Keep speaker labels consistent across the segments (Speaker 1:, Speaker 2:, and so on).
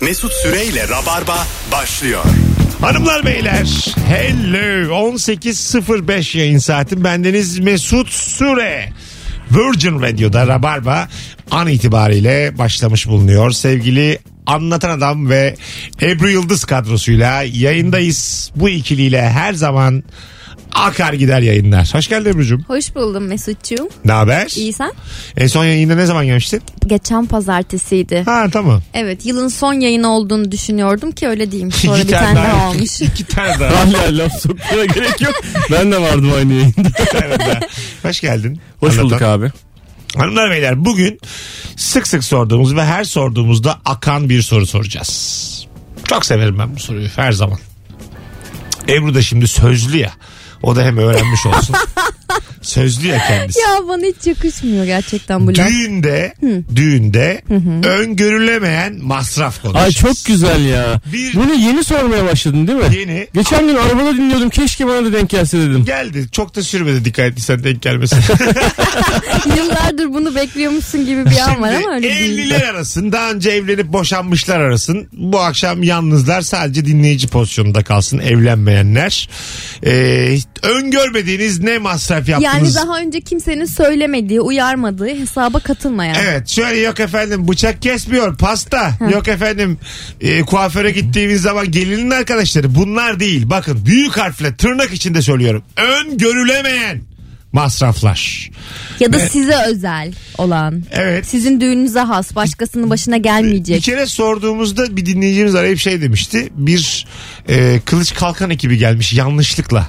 Speaker 1: Mesut Süreyle Rabarba başlıyor.
Speaker 2: Hanımlar beyler hello 18.05 yayın saatim bendeniz Mesut Süre Virgin Radio'da Rabarba an itibariyle başlamış bulunuyor sevgili Anlatan Adam ve Ebru Yıldız kadrosuyla yayındayız bu ikiliyle her zaman akar gider yayınlar. Hoş geldin Ebru'cum.
Speaker 3: Hoş buldum Mesut'cuğum.
Speaker 2: Ne haber?
Speaker 3: İyi sen?
Speaker 2: En son yayında ne zaman gelmiştin?
Speaker 3: Geçen pazartesiydi.
Speaker 2: Ha tamam.
Speaker 3: Evet yılın son yayını olduğunu düşünüyordum ki öyle diyeyim. Sonra
Speaker 2: İki
Speaker 3: bir tane daha
Speaker 2: daha-
Speaker 3: olmuş.
Speaker 2: İki tane daha.
Speaker 4: Hala laf sokmaya gerek yok. Ben de vardım aynı yayında.
Speaker 2: Hoş geldin.
Speaker 4: Hoş
Speaker 2: Anlatan.
Speaker 4: bulduk abi.
Speaker 2: Hanımlar beyler bugün sık sık sorduğumuz ve her sorduğumuzda akan bir soru soracağız. Çok severim ben bu soruyu her zaman. Ebru da şimdi sözlü ya. O da hem öğrenmiş olsun. sözlü ya kendisi.
Speaker 3: ya bana hiç yakışmıyor gerçekten bu laf.
Speaker 2: Düğünde, düğünde öngörülemeyen masraf konuşuyoruz.
Speaker 4: Ay çok güzel ya.
Speaker 2: Bir-
Speaker 4: Bunu yeni sormaya başladın değil mi?
Speaker 2: Yeni.
Speaker 4: Geçen gün arabada dinliyordum. Keşke bana da denk gelse dedim.
Speaker 2: Geldi. Çok da sürmedi dikkat ettiysen denk gelmesin.
Speaker 3: Yıllardır bunu bekliyormuşsun gibi bir an var ama öyle değil.
Speaker 2: Hani evliler arasın. Daha önce evlenip boşanmışlar arasın. Bu akşam yalnızlar sadece dinleyici pozisyonunda kalsın evlenmeyenler. Ee, öngörmediğiniz ne masraf
Speaker 3: Yani
Speaker 2: yaptınız?
Speaker 3: daha önce kimsenin söylemediği, uyarmadığı hesaba katılmayan.
Speaker 2: Evet şöyle yok efendim bıçak kesmiyor pasta yok efendim e, kuaföre gittiğimiz zaman gelinin arkadaşları bunlar değil bakın büyük harfle tırnak içinde söylüyorum öngörülemeyen masraflar.
Speaker 3: Ya da size özel olan.
Speaker 2: Evet.
Speaker 3: Sizin düğününüze has, başkasının başına
Speaker 2: Bir
Speaker 3: gelmeyecek.
Speaker 2: kere sorduğumuzda bir dinleyicimiz arayıp şey demişti. Bir e, kılıç kalkan ekibi gelmiş yanlışlıkla.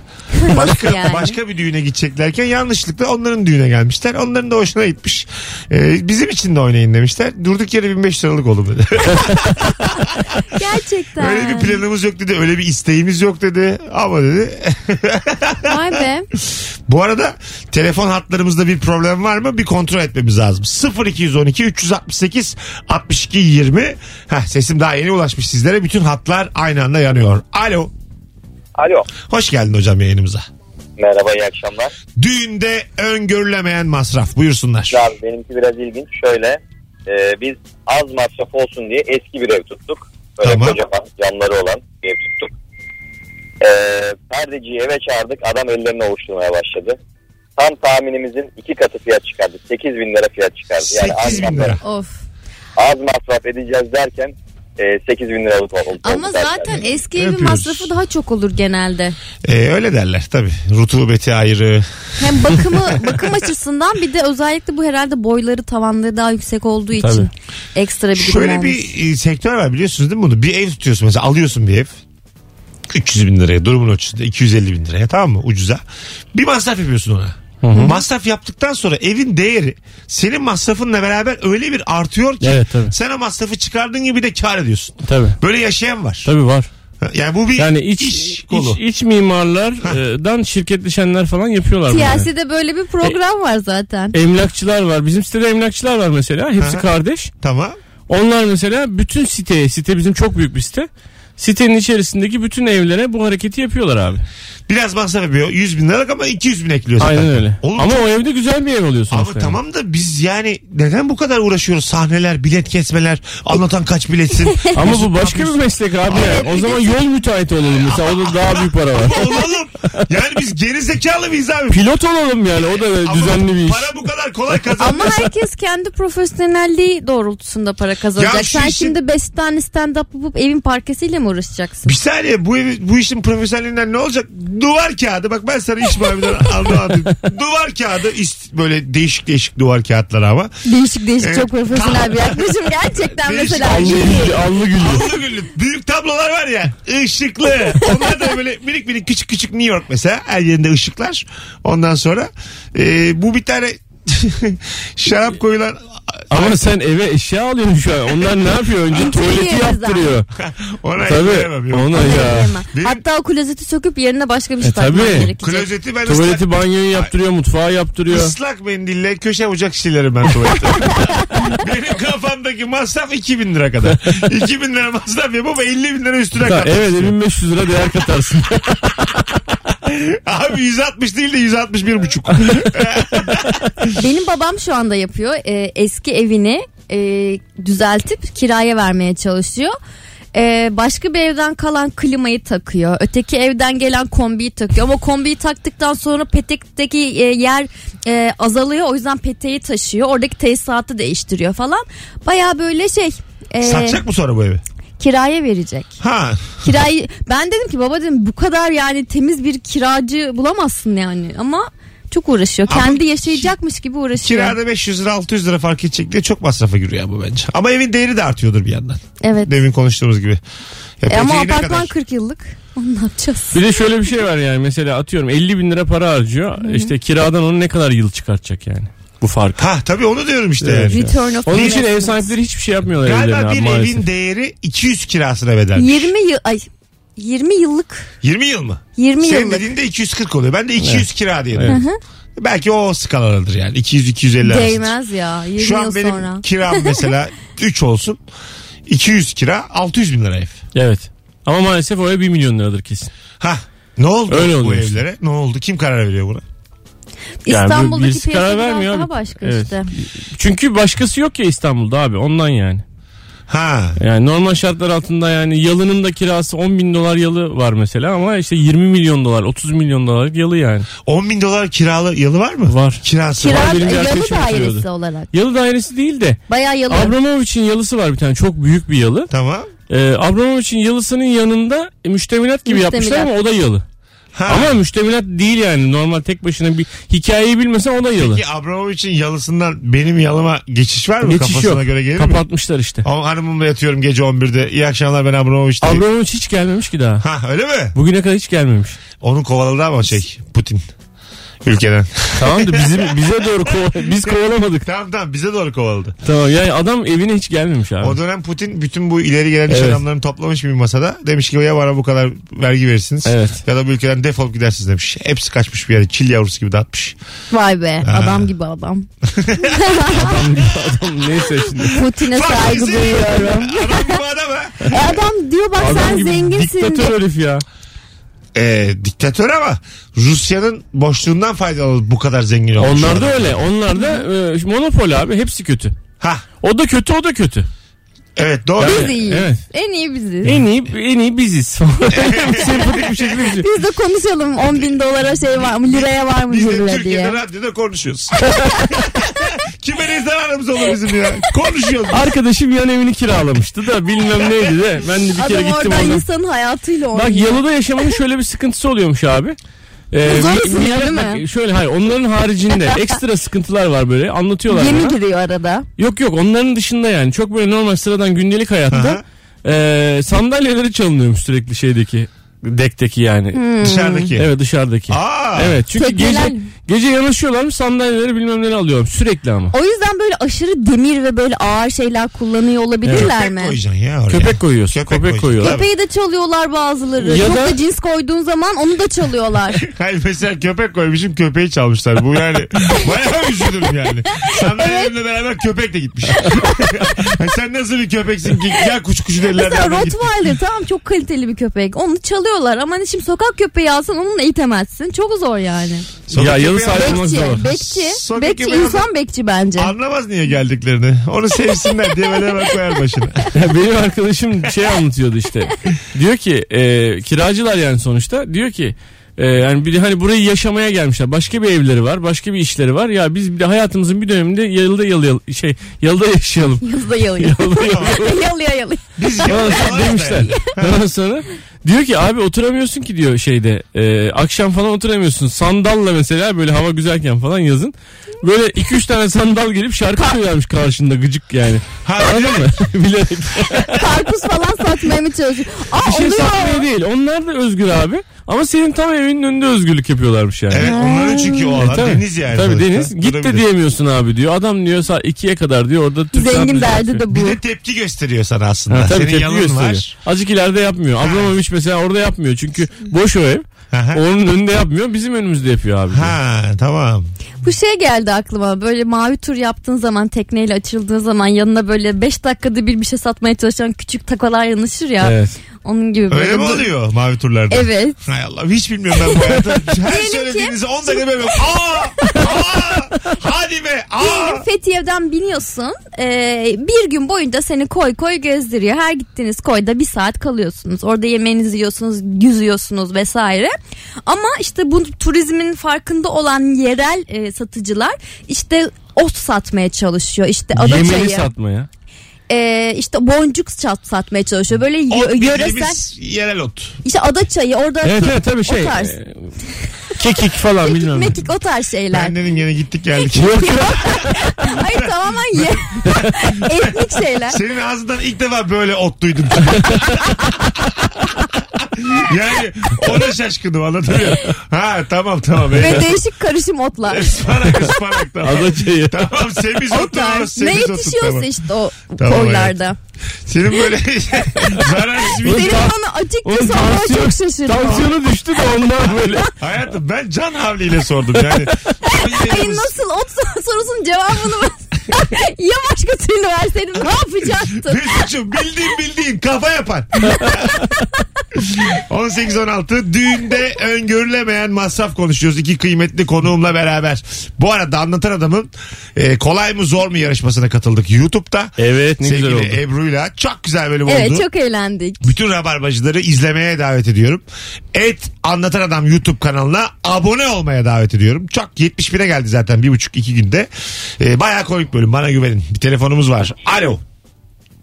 Speaker 2: Başka
Speaker 3: Nasıl yani?
Speaker 2: başka bir düğüne gideceklerken yanlışlıkla onların düğüne gelmişler. Onların da hoşuna gitmiş. E, bizim için de oynayın demişler. Durduk yere 1500 liralık oldu dedi.
Speaker 3: Gerçekten.
Speaker 2: öyle bir planımız yok dedi. Öyle bir isteğimiz yok dedi. Ama dedi.
Speaker 3: Vay be.
Speaker 2: Bu arada telefon hatlarımızda bir problem var mı? Bir kontrol etmemiz lazım. 0212 368 62 20. Heh, sesim daha yeni ulaşmış sizlere. Bütün hatlar aynı anda yanıyor. Alo.
Speaker 5: Alo.
Speaker 2: Hoş geldin hocam yayınımıza.
Speaker 5: Merhaba iyi akşamlar.
Speaker 2: Düğünde öngörülemeyen masraf. Buyursunlar.
Speaker 5: Abi benimki biraz ilginç. Şöyle e, biz az masraf olsun diye eski bir ev tuttuk. Böyle
Speaker 2: Tamam.
Speaker 5: kocaman camları olan bir ev tuttuk. E, perdeciyi eve çağırdık. Adam ellerini ovuşturmaya başladı. Tam tahminimizin iki katı fiyat çıkardı. 8 bin lira fiyat çıkardı. az,
Speaker 2: 8 bin lira.
Speaker 5: masraf,
Speaker 3: Of.
Speaker 5: az masraf edeceğiz derken e, 8 bin lira oldu. oldu
Speaker 3: Ama
Speaker 5: derken.
Speaker 3: zaten eski evin
Speaker 2: Öpüyoruz.
Speaker 3: masrafı daha çok olur genelde.
Speaker 2: Ee, öyle derler tabii. Rutubeti ayrı.
Speaker 3: Hem bakımı bakım açısından bir de özellikle bu herhalde boyları tavanları daha yüksek olduğu için ekstra bir durum
Speaker 2: Şöyle
Speaker 3: olmuş.
Speaker 2: bir e, sektör var biliyorsunuz değil mi bunu? Bir ev tutuyorsun mesela alıyorsun bir ev. 300 bin liraya durumun ölçüsünde 250 bin liraya tamam mı ucuza. Bir masraf yapıyorsun ona. Masraf yaptıktan sonra evin değeri senin masrafınla beraber öyle bir artıyor ki
Speaker 4: Evet, tabii.
Speaker 2: sen o masrafı çıkardığın gibi de kar ediyorsun.
Speaker 4: Tabii.
Speaker 2: Böyle yaşayan var.
Speaker 4: Tabii var.
Speaker 2: Yani bu bir
Speaker 4: Yani iç
Speaker 2: iş
Speaker 4: iç,
Speaker 2: kolu.
Speaker 4: iç mimarlardan şirketleşenler falan yapıyorlar. bunu.
Speaker 3: Siyaside böyle bir program var zaten.
Speaker 4: Emlakçılar var. Bizim sitede emlakçılar var mesela. Hepsi
Speaker 2: Aha.
Speaker 4: kardeş.
Speaker 2: Tamam.
Speaker 4: Onlar mesela bütün siteye, site bizim çok büyük bir site. Sitenin içerisindeki bütün evlere bu hareketi yapıyorlar abi.
Speaker 2: Biraz masraf yapıyor 100 bin liralık ama 200 bin ekliyor zaten.
Speaker 4: Aynen öyle.
Speaker 2: Oğlum
Speaker 4: Ama o evde güzel bir ev oluyor sonuçta.
Speaker 2: Ama
Speaker 4: yani.
Speaker 2: tamam da biz yani neden bu kadar uğraşıyoruz sahneler, bilet kesmeler, anlatan kaç biletsin.
Speaker 4: Ama bu başka bir meslek abi. ya. O zaman yol müteahhiti olalım mesela. O da daha büyük para var.
Speaker 2: Olalım. Yani biz geri zekalı mıyız abi?
Speaker 4: Pilot olalım yani. O da böyle
Speaker 2: Ama
Speaker 4: düzenli bir iş.
Speaker 2: Para bu kadar kolay kazan.
Speaker 3: Ama herkes kendi profesyonelliği doğrultusunda para kazanacak.
Speaker 2: Ya şu
Speaker 3: Sen
Speaker 2: işin-
Speaker 3: şimdi 5 tane stand up yapıp evin parkesiyle mi uğraşacaksın?
Speaker 2: Bir saniye bu, evi- bu işin profesyonelinden ne olacak? Duvar kağıdı bak ben sana iş muhabirinden anlamadım. Duvar kağıdı is- böyle değişik değişik duvar kağıtları ama.
Speaker 3: Değişik değişik
Speaker 2: Evet.
Speaker 3: çok profesyonel bir yaklaşım gerçekten
Speaker 2: Değişik.
Speaker 3: mesela.
Speaker 2: Allah
Speaker 4: güldü. Allı güldü.
Speaker 2: Allı güllü. Büyük tablolar var ya ışıklı. Onlar da böyle minik minik küçük küçük New York mesela. Her yerinde ışıklar. Ondan sonra e, bu bir tane şarap koyulan
Speaker 4: Ama sen eve eşya alıyorsun şu an. Onlar ne yapıyor? Önce tuvaleti
Speaker 3: Bitiriyoruz
Speaker 4: yaptırıyor.
Speaker 2: ona
Speaker 4: Tabii.
Speaker 2: ellemem yok.
Speaker 4: Ona ya.
Speaker 2: Benim-
Speaker 3: Hatta o klozeti söküp yerine başka bir şey
Speaker 4: E,
Speaker 3: takman
Speaker 4: tabii.
Speaker 3: gerekecek.
Speaker 2: Klozeti ben ıslak,
Speaker 4: Tuvaleti banyoyu yaptırıyor. Mutfağı yaptırıyor.
Speaker 2: ıslak mendille köşe bucak şilerim ben tuvalette. Benim kafamdaki masraf 2000 lira kadar. 2000 lira masraf yapıp 50 bin lira üstüne
Speaker 4: Tamam,
Speaker 2: kat.
Speaker 4: evet 1500 lira değer katarsın.
Speaker 2: Abi 160 değil de 161 buçuk.
Speaker 3: Benim babam şu anda yapıyor. Ee, eski evini e, e, düzeltip kiraya vermeye çalışıyor. E, başka bir evden kalan klimayı takıyor. Öteki evden gelen kombiyi takıyor. Ama kombiyi taktıktan sonra petekteki e, yer e, azalıyor. O yüzden peteği taşıyor. Oradaki tesisatı değiştiriyor falan. Baya böyle şey e,
Speaker 2: Ee, Satacak mı sonra bu evi?
Speaker 3: kiraya verecek.
Speaker 2: Ha.
Speaker 3: Kirayı ben dedim ki baba dedim bu kadar yani temiz bir kiracı bulamazsın yani ama çok uğraşıyor.
Speaker 2: Ama
Speaker 3: Kendi yaşayacakmış gibi uğraşıyor.
Speaker 2: Kirada 500 lira 600 lira fark edecek diye çok masrafa giriyor bu bence. Ama evin değeri de artıyordur bir yandan.
Speaker 3: Evet.
Speaker 2: Demin konuştuğumuz gibi. Ya
Speaker 3: E ama
Speaker 2: peteği ne
Speaker 3: apartman
Speaker 2: kadar?
Speaker 3: 40 yıllık. Onu ne yapacağız?
Speaker 4: Bir de şöyle bir şey var yani mesela atıyorum 50 bin lira para harcıyor. İşte kiradan onu ne kadar yıl çıkartacak yani bu fark.
Speaker 2: Ha tabii onu diyorum işte.
Speaker 4: Evet.
Speaker 2: yani.
Speaker 3: Return of
Speaker 4: Onun için ev
Speaker 3: investment.
Speaker 4: sahipleri hiçbir şey yapmıyorlar evlerine
Speaker 2: Galiba
Speaker 4: abi
Speaker 2: bir
Speaker 4: maalesef.
Speaker 2: evin değeri 200 kirasına bedelmiş.
Speaker 3: 20 yıl ay 20 yıllık
Speaker 2: 20 yıl mı?
Speaker 3: 20
Speaker 2: Senin
Speaker 3: yıllık
Speaker 2: dediğin de 240 oluyor. Ben de 200 kira diyelim. Belki o skalalardır yani. 200-250 arasıdır.
Speaker 3: değmez ya 20
Speaker 2: Şu
Speaker 3: yıl
Speaker 2: an benim
Speaker 3: sonra.
Speaker 2: kiram mesela 3 olsun. 200 kira 600 bin lira ev.
Speaker 4: Evet. Ama maalesef o ev 1 milyon liradır kesin.
Speaker 2: Ha ne oldu
Speaker 4: Öyle
Speaker 2: bu
Speaker 4: oluyor işte.
Speaker 2: evlere? Ne oldu? Kim karar veriyor buna?
Speaker 4: Yani bir-
Speaker 3: İstanbul'daki
Speaker 4: birisi karar
Speaker 3: piyasa biraz
Speaker 4: vermiyor
Speaker 3: daha
Speaker 4: abi.
Speaker 3: başka
Speaker 4: Evet.
Speaker 3: işte.
Speaker 4: Çünkü başkası yok ya İstanbul'da abi ondan yani.
Speaker 2: Ha.
Speaker 4: Yani normal şartlar altında yani yalının da kirası 10 bin dolar yalı var mesela ama işte 20 milyon dolar 30 milyon dolarlık yalı yani.
Speaker 2: 10 bin dolar kiralı yalı var mı?
Speaker 4: Var.
Speaker 2: Kirası var.
Speaker 3: Kira
Speaker 4: benim bir
Speaker 3: yalı
Speaker 4: arkadaşım
Speaker 3: dairesi
Speaker 4: oturuyordu.
Speaker 3: olarak.
Speaker 4: Yalı dairesi değil de
Speaker 3: Bayağı yalı.
Speaker 4: Abramovich'in yalısı var bir tane çok büyük bir yalı.
Speaker 2: Tamam.
Speaker 4: Ee, Abramovich'in yalısının yanında e, müştemilat gibi yapmışlar ama
Speaker 3: Müştemilat.
Speaker 4: o da yalı.
Speaker 2: Ha.
Speaker 4: Ama müştemilat değil yani normal tek başına bir hikayeyi bilmesen o da yalı.
Speaker 2: Peki Abramovich'in yalısından benim yalıma geçiş var mı?
Speaker 4: Geçiş
Speaker 2: Kafasına
Speaker 4: yok.
Speaker 2: göre gelir mi?
Speaker 4: Kapatmışlar işte.
Speaker 2: Ama hanımımla yatıyorum gece 11'de. İyi akşamlar ben Abramovich değil.
Speaker 4: Abramovich hiç gelmemiş ki daha.
Speaker 2: Ha öyle mi?
Speaker 4: Bugüne kadar hiç gelmemiş.
Speaker 2: Onun kovaladı ama şey Putin. Ülkeden.
Speaker 4: Tamam da bizim bize doğru kova- biz kovalamadık.
Speaker 2: tamam tamam bize doğru kovaladı.
Speaker 4: Tamam yani adam evine hiç gelmemiş abi.
Speaker 2: O dönem Putin bütün bu ileri gelen iş
Speaker 4: Evet.
Speaker 2: adamlarını toplamış bir masada. Demiş ki ya bana bu kadar vergi verirsiniz.
Speaker 4: Evet.
Speaker 2: Ya da bu ülkeden defolup gidersiniz demiş. Hepsi kaçmış bir yere çil yavrusu gibi dağıtmış.
Speaker 3: Vay be adam gibi adam.
Speaker 4: Adam neyse şimdi.
Speaker 3: Putin'e saygı
Speaker 2: Faşizm.
Speaker 3: duyuyorum.
Speaker 2: Adam gibi adam ha.
Speaker 3: E adam diyor bak
Speaker 4: şey. Adam
Speaker 3: sen
Speaker 4: gibi
Speaker 3: zenginsin.
Speaker 4: Diktatör herif ya.
Speaker 2: Ee, diktatör ama Rusya'nın boşluğundan faydalı bu kadar zengin olmuş.
Speaker 4: Onlar da
Speaker 2: adam.
Speaker 4: öyle. Onlar da e, monopol abi. Hepsi kötü.
Speaker 2: Ha
Speaker 4: O da kötü o da kötü.
Speaker 2: evet doğru.
Speaker 3: Biz iyiyiz.
Speaker 4: Evet.
Speaker 3: En iyi biziz.
Speaker 4: En iyi, en iyi biziz. Sempatik bir şekilde bir şey.
Speaker 3: Biz de konuşalım 10 bin dolara şey var mı liraya var mı
Speaker 2: Biz de
Speaker 3: cürle
Speaker 2: Türkiye'de
Speaker 3: diye.
Speaker 2: radyoda konuşuyoruz. Kime ne zararımız olur bizim ya? Konuşuyoruz.
Speaker 4: Arkadaşım yan evini kiralamıştı da bilmem neydi de. Ben de bir kere
Speaker 3: Adam
Speaker 4: gittim
Speaker 3: oradan
Speaker 4: ona.
Speaker 3: insanın hayatıyla
Speaker 4: Bak
Speaker 3: oynuyor.
Speaker 4: yalıda yaşamanın şöyle bir sıkıntısı oluyormuş abi. Ee,
Speaker 3: Zor
Speaker 4: mi-
Speaker 3: ısınıyor
Speaker 4: millet-
Speaker 3: değil mi?
Speaker 4: bak, Şöyle hayır onların haricinde ekstra sıkıntılar var böyle anlatıyorlar.
Speaker 3: Gemi
Speaker 4: bana.
Speaker 3: giriyor arada.
Speaker 4: Yok yok onların dışında yani çok böyle normal sıradan gündelik
Speaker 2: Aha.
Speaker 4: hayatta e, sandalyeleri çalınıyormuş sürekli şeydeki dekteki yani.
Speaker 2: Hmm. Dışarıdaki.
Speaker 4: Evet dışarıdaki.
Speaker 2: Aa.
Speaker 4: Evet çünkü
Speaker 3: Tekneler-
Speaker 4: gece gece yanaşıyorlarmış sandalyeleri bilmem neleri alıyorum sürekli ama.
Speaker 3: O yüzden böyle aşırı demir ve böyle ağır şeyler kullanıyor olabilirler
Speaker 2: Köpek
Speaker 3: mi?
Speaker 2: koyacaksın ya oraya.
Speaker 4: Köpek koyuyorsun.
Speaker 2: Köpek koyuyorsun.
Speaker 4: Köpek, koyuyorlar.
Speaker 3: Köpeği de çalıyorlar bazıları.
Speaker 4: Ya
Speaker 3: Çok
Speaker 4: da-
Speaker 3: da cins koyduğun zaman onu da çalıyorlar.
Speaker 2: Hayır mesela köpek koymuşum köpeği çalmışlar. Bu yani bayağı üzülürüm yani. Sandalyelerimle beraber köpek de gitmiş. Ay sen nasıl bir köpeksin ki? Gel kuş kuşu
Speaker 3: Mesela
Speaker 2: ellerden de git.
Speaker 3: Rottweiler tamam çok kaliteli bir köpek. Onu çalıyorlar ama hani şimdi sokak köpeği alsan onunla itemezsin. Çok zor yani.
Speaker 2: Sokak
Speaker 4: Ya yalı
Speaker 2: köpeği
Speaker 4: sahibi- Olmaz
Speaker 3: Bekçi,
Speaker 4: zor.
Speaker 3: bekçi,
Speaker 2: Sokak
Speaker 3: bekçi
Speaker 2: köpeği
Speaker 3: insan bekçi bence.
Speaker 2: Anlamaz niye geldiklerini. Onu sevsinler diye böyle hemen koyar başına.
Speaker 4: Ya benim arkadaşım şey anlatıyordu işte. Diyor ki e, kiracılar yani sonuçta diyor ki e, yani bir de hani burayı yaşamaya gelmişler. Başka bir evleri var, başka bir işleri var. Ya biz bir de hayatımızın bir döneminde yalıda yalı, yalı- şey yalıda yaşayalım.
Speaker 3: Yazda yalıyor.
Speaker 4: Yalıda yalı-
Speaker 3: yalıyor yalıyor.
Speaker 2: Biz
Speaker 4: Ondan
Speaker 2: yaparız
Speaker 4: sonra
Speaker 2: da
Speaker 4: demişler.
Speaker 2: yani.
Speaker 4: Ondan sonra diyor ki abi oturamıyorsun ki diyor şeyde e, akşam falan oturamıyorsun. Sandalla mesela böyle hava güzelken falan yazın. Böyle 2-3 tane sandal gelip şarkı söylermiş karşında gıcık yani.
Speaker 2: Ha,
Speaker 4: Anladın mı? Bilerek.
Speaker 3: Karpuz falan satmaya mı çalışıyor? Aa
Speaker 4: Bir şey
Speaker 3: oluyor.
Speaker 4: satmaya değil. Onlar da özgür abi. Ama senin tam evinin önünde özgürlük yapıyorlarmış yani. E,
Speaker 2: Evet onların çünkü o alan
Speaker 4: Tabii.
Speaker 2: deniz yani.
Speaker 4: Tabii
Speaker 2: sonuçta.
Speaker 4: deniz. Git de
Speaker 2: Durabilir.
Speaker 4: diyemiyorsun abi diyor. Adam diyor saat 2'ye kadar diyor orada Türk
Speaker 3: Zengin
Speaker 4: sanat
Speaker 3: derdi
Speaker 4: müziği
Speaker 3: de bu.
Speaker 2: Bir de tepki gösteriyor sana aslında.
Speaker 4: Ha, tabii
Speaker 2: Senin
Speaker 4: tepki
Speaker 2: yalın
Speaker 4: gösteriyor.
Speaker 2: var.
Speaker 4: Azıcık ileride yapmıyor. Abramovich mesela orada yapmıyor. Çünkü boş o ev.
Speaker 2: Aha.
Speaker 4: Onun önünde yapmıyor. Bizim önümüzde yapıyor abi.
Speaker 2: Ha tamam.
Speaker 3: Bu şey geldi aklıma. Böyle mavi tur yaptığın zaman tekneyle açıldığın zaman yanına böyle 5 dakikada bir bir şey satmaya çalışan küçük takolar yanaşır ya.
Speaker 4: Evet.
Speaker 3: Onun gibi böyle.
Speaker 2: Öyle mi
Speaker 3: dur-
Speaker 2: oluyor mavi turlarda?
Speaker 3: Evet.
Speaker 2: Hay Allah hiç bilmiyorum ben bu hayatı. Her söylediğinizi 10 dakika böyle aa Aa, hadi be.
Speaker 3: Bir
Speaker 2: Aa.
Speaker 3: gün Fethiye'den biniyorsun. Ee, bir gün boyunca seni koy koy gezdiriyor. Her gittiğiniz koyda bir saat kalıyorsunuz. Orada yemeğinizi yiyorsunuz, yüzüyorsunuz vesaire. Ama işte bu turizmin farkında olan yerel e, satıcılar işte ot satmaya çalışıyor. İşte
Speaker 4: Yemeni
Speaker 3: adaçayı,
Speaker 4: satmaya.
Speaker 3: e, işte boncuk sat- satmaya çalışıyor. Böyle yö-
Speaker 2: Ot
Speaker 3: yöresel
Speaker 2: bildiğimiz yerel ot.
Speaker 3: işte adaçayı orada
Speaker 4: Evet evet tabii şey.
Speaker 3: o tarz.
Speaker 4: e, Kekik falan bilmem. ne.
Speaker 3: mekik o tarz şeyler.
Speaker 2: Bendenin gene gittik geldik.
Speaker 3: Hayır tamamen ye. etnik şeyler.
Speaker 2: Senin ağzından ilk defa böyle ot duydum. yani ona şaşkınım anladın mı? Ha tamam tamam.
Speaker 3: Ve değişik karışım otlar.
Speaker 2: Ispanak ıspanak tamam.
Speaker 4: Adaçayı.
Speaker 2: Tamam semiz
Speaker 3: O
Speaker 2: otu.
Speaker 3: tarz. Ne
Speaker 2: semiz otu
Speaker 3: yetişiyorsa
Speaker 2: tamam.
Speaker 3: işte o
Speaker 2: Tamam,
Speaker 3: koylarda.
Speaker 2: Senin böyle zararsız bir...
Speaker 3: Senin
Speaker 4: Tan-
Speaker 3: bana
Speaker 4: Oğlum
Speaker 3: açıkçası olmaya
Speaker 4: tansiyon-
Speaker 3: çok şaşırdım.
Speaker 4: Tansiyonu düştü de ondan böyle.
Speaker 2: Hayatım ben can havliyle sordum yani.
Speaker 3: Ay nasıl ot sorusunun cevabını ben- ya başka türlü verseydim ne yapacaktın?
Speaker 2: Mesut'cum bildiğin bildiğin kafa yapan. 18-16 düğünde öngörülemeyen masraf konuşuyoruz iki kıymetli konuğumla beraber. Bu arada anlatan adamın e, kolay mı zor mu yarışmasına katıldık YouTube'da.
Speaker 4: Evet ne güzel oldu.
Speaker 2: Sevgili Ebru'yla çok güzel bölüm oldu.
Speaker 3: Evet çok eğlendik.
Speaker 2: Bütün rabarbacıları izlemeye davet ediyorum. Et Anlatan Adam YouTube kanalına abone olmaya davet ediyorum. Çok 70 bine geldi zaten bir buçuk iki günde. Ee, bayağı komik bölüm bana güvenin. Bir telefonumuz var. Alo.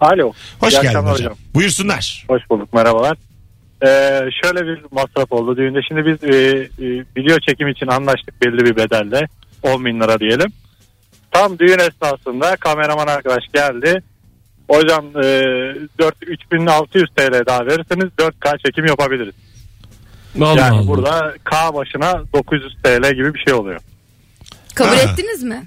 Speaker 6: Alo.
Speaker 2: Hoş
Speaker 6: İyi
Speaker 2: geldin hocam.
Speaker 6: akşamlar
Speaker 2: Buyursunlar.
Speaker 6: Hoş bulduk merhabalar. Ee, şöyle bir masraf oldu düğünde. Şimdi biz e, e, video çekim için anlaştık belli bir bedelle. 10 bin lira diyelim. Tam düğün esnasında kameraman arkadaş geldi. Hocam e, 4 3600 TL daha verirseniz 4K çekim yapabiliriz.
Speaker 4: Allah
Speaker 6: yani
Speaker 4: Allah.
Speaker 6: burada K başına 900 TL gibi bir şey oluyor.
Speaker 3: Kabul
Speaker 2: Ha.
Speaker 3: ettiniz mi?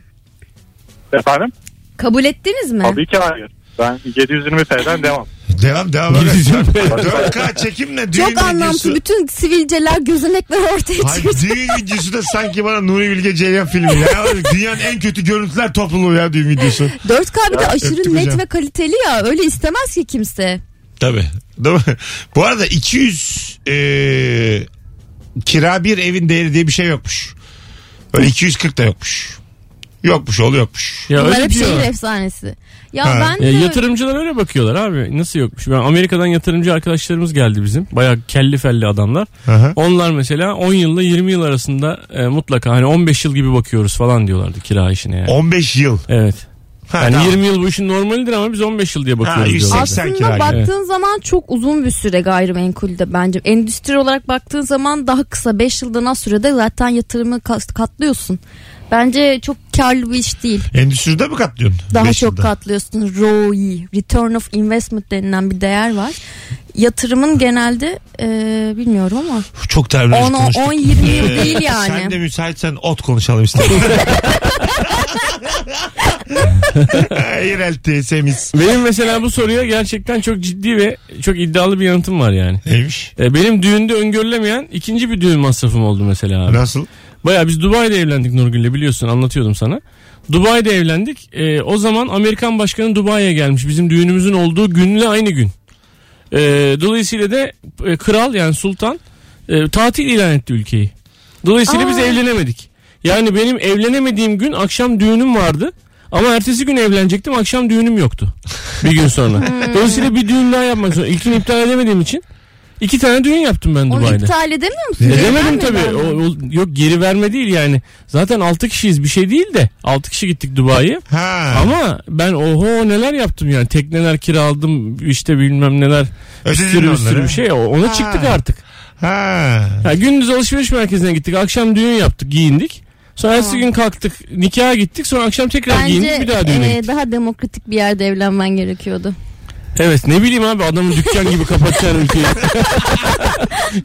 Speaker 6: Efendim?
Speaker 3: Kabul ettiniz mi?
Speaker 6: Tabii ki hayır. Ben 720 TL'den devam.
Speaker 2: Devam devam.
Speaker 4: Gideceğim.
Speaker 2: 4K çekimle düğün
Speaker 3: Çok
Speaker 2: videosu.
Speaker 3: anlamsız şey. bütün sivilceler gözenekler ortaya
Speaker 2: Hayır,
Speaker 3: çıkıyor.
Speaker 2: düğün videosu da sanki bana Nuri Bilge Ceylan filmi ya. Dünyanın en kötü görüntüler topluluğu ya düğün videosu.
Speaker 3: 4K bir de aşırı
Speaker 2: öptüm
Speaker 3: net
Speaker 2: hocam.
Speaker 3: ve kaliteli ya öyle istemez ki kimse.
Speaker 2: Tabii. Değil mi? Bu arada 200 eee, kira bir evin değeri diye bir şey yokmuş. Öyle 240 da yokmuş. Yokmuş oğlu yokmuş.
Speaker 4: Ya
Speaker 3: Bunlar
Speaker 4: öyle
Speaker 3: hep şehir
Speaker 4: diyorlar.
Speaker 3: efsanesi. Ya
Speaker 2: Ha.
Speaker 3: ben de...
Speaker 4: Ya yatırımcılar öyle bakıyorlar abi. Nasıl yokmuş? Ben Amerika'dan yatırımcı arkadaşlarımız geldi bizim. Bayağı kelli felli adamlar.
Speaker 2: Aha.
Speaker 4: Onlar mesela 10 yılla 20 yıl arasında e, mutlaka hani 15 yıl gibi bakıyoruz falan diyorlardı kira işine yani.
Speaker 2: 15 yıl.
Speaker 4: Evet.
Speaker 2: Ha,
Speaker 4: Yani
Speaker 2: tamam.
Speaker 4: 20 yıl bu işin normalidir ama biz 15 yıl diye bakıyoruz
Speaker 2: Ha, yüz
Speaker 4: diyorlar.
Speaker 2: seksen. Sen
Speaker 3: Aslında
Speaker 2: kiraya gel.
Speaker 3: baktığın zaman çok uzun bir süre gayrimenkulde bence. Endüstri olarak baktığın zaman daha kısa 5 yıldan az sürede zaten yatırımı kas- katlıyorsun. Bence çok karlı bir iş değil.
Speaker 2: Endüstride mi katlıyorsun?
Speaker 3: Daha
Speaker 2: Beş
Speaker 3: çok
Speaker 2: yılda.
Speaker 3: katlıyorsun. ROI, Return of Investment denilen bir değer var. Yatırımın genelde e, bilmiyorum ama
Speaker 2: Çok terminoloji
Speaker 3: 10
Speaker 2: konuştuk.
Speaker 3: 10 20 yıl
Speaker 2: Ee,
Speaker 3: değil
Speaker 2: Sen de
Speaker 3: yani.
Speaker 2: müsaitsen ot konuşalım istedim. Yerelti, semiz.
Speaker 4: Benim mesela bu soruya gerçekten çok ciddi ve çok iddialı bir yanıtım var yani.
Speaker 2: Neymiş?
Speaker 4: E, benim düğünde öngörülemeyen ikinci bir düğün masrafım oldu mesela abi.
Speaker 2: Nasıl?
Speaker 4: Baya biz Dubai'de evlendik Nurgül'le biliyorsun anlatıyordum sana. Dubai'de evlendik. E, o zaman Amerikan başkanı Dubai'ye gelmiş. Bizim düğünümüzün olduğu günle aynı gün. E, dolayısıyla da e, kral yani sultan e, tatil ilan etti ülkeyi. Dolayısıyla biz
Speaker 3: Aa.
Speaker 4: evlenemedik. Yani benim evlenemediğim gün akşam düğünüm vardı. Ama ertesi gün evlenecektim akşam düğünüm yoktu. Bir gün sonra.
Speaker 3: Hmm.
Speaker 4: Dolayısıyla bir düğün daha yapmak zorunda. İlkini iptal edemediğim için iki tane düğün yaptım ben
Speaker 3: Onu
Speaker 4: Dubai'de.
Speaker 3: iptal edemiyor musun?
Speaker 4: Edemedim
Speaker 3: Neden mi
Speaker 4: E tabii.
Speaker 3: ben?
Speaker 4: O, o- yok geri verme değil yani. Zaten 6 kişiyiz bir şey değil de. 6 kişi gittik Dubai'ye.
Speaker 2: Ha.
Speaker 4: Ama ben oho neler yaptım yani. Tekneler kiraladım işte bilmem neler. Bir
Speaker 2: Ödedin
Speaker 4: sürü bir sürü
Speaker 2: onları.
Speaker 4: bir şey. O- Ona
Speaker 2: Ha.
Speaker 4: çıktık artık.
Speaker 2: Ha.
Speaker 4: Ya gündüz alışveriş merkezine gittik. Akşam düğün yaptık giyindik. Sonra ertesi gün kalktık nikaha gittik. Sonra akşam tekrar
Speaker 3: Bence
Speaker 4: giyindik bir daha düğüne
Speaker 3: e,
Speaker 4: gittik.
Speaker 3: daha demokratik bir yerde evlenmen gerekiyordu.
Speaker 4: Evet ne bileyim abi adamın dükkan gibi kapatacaksın ülkeyi.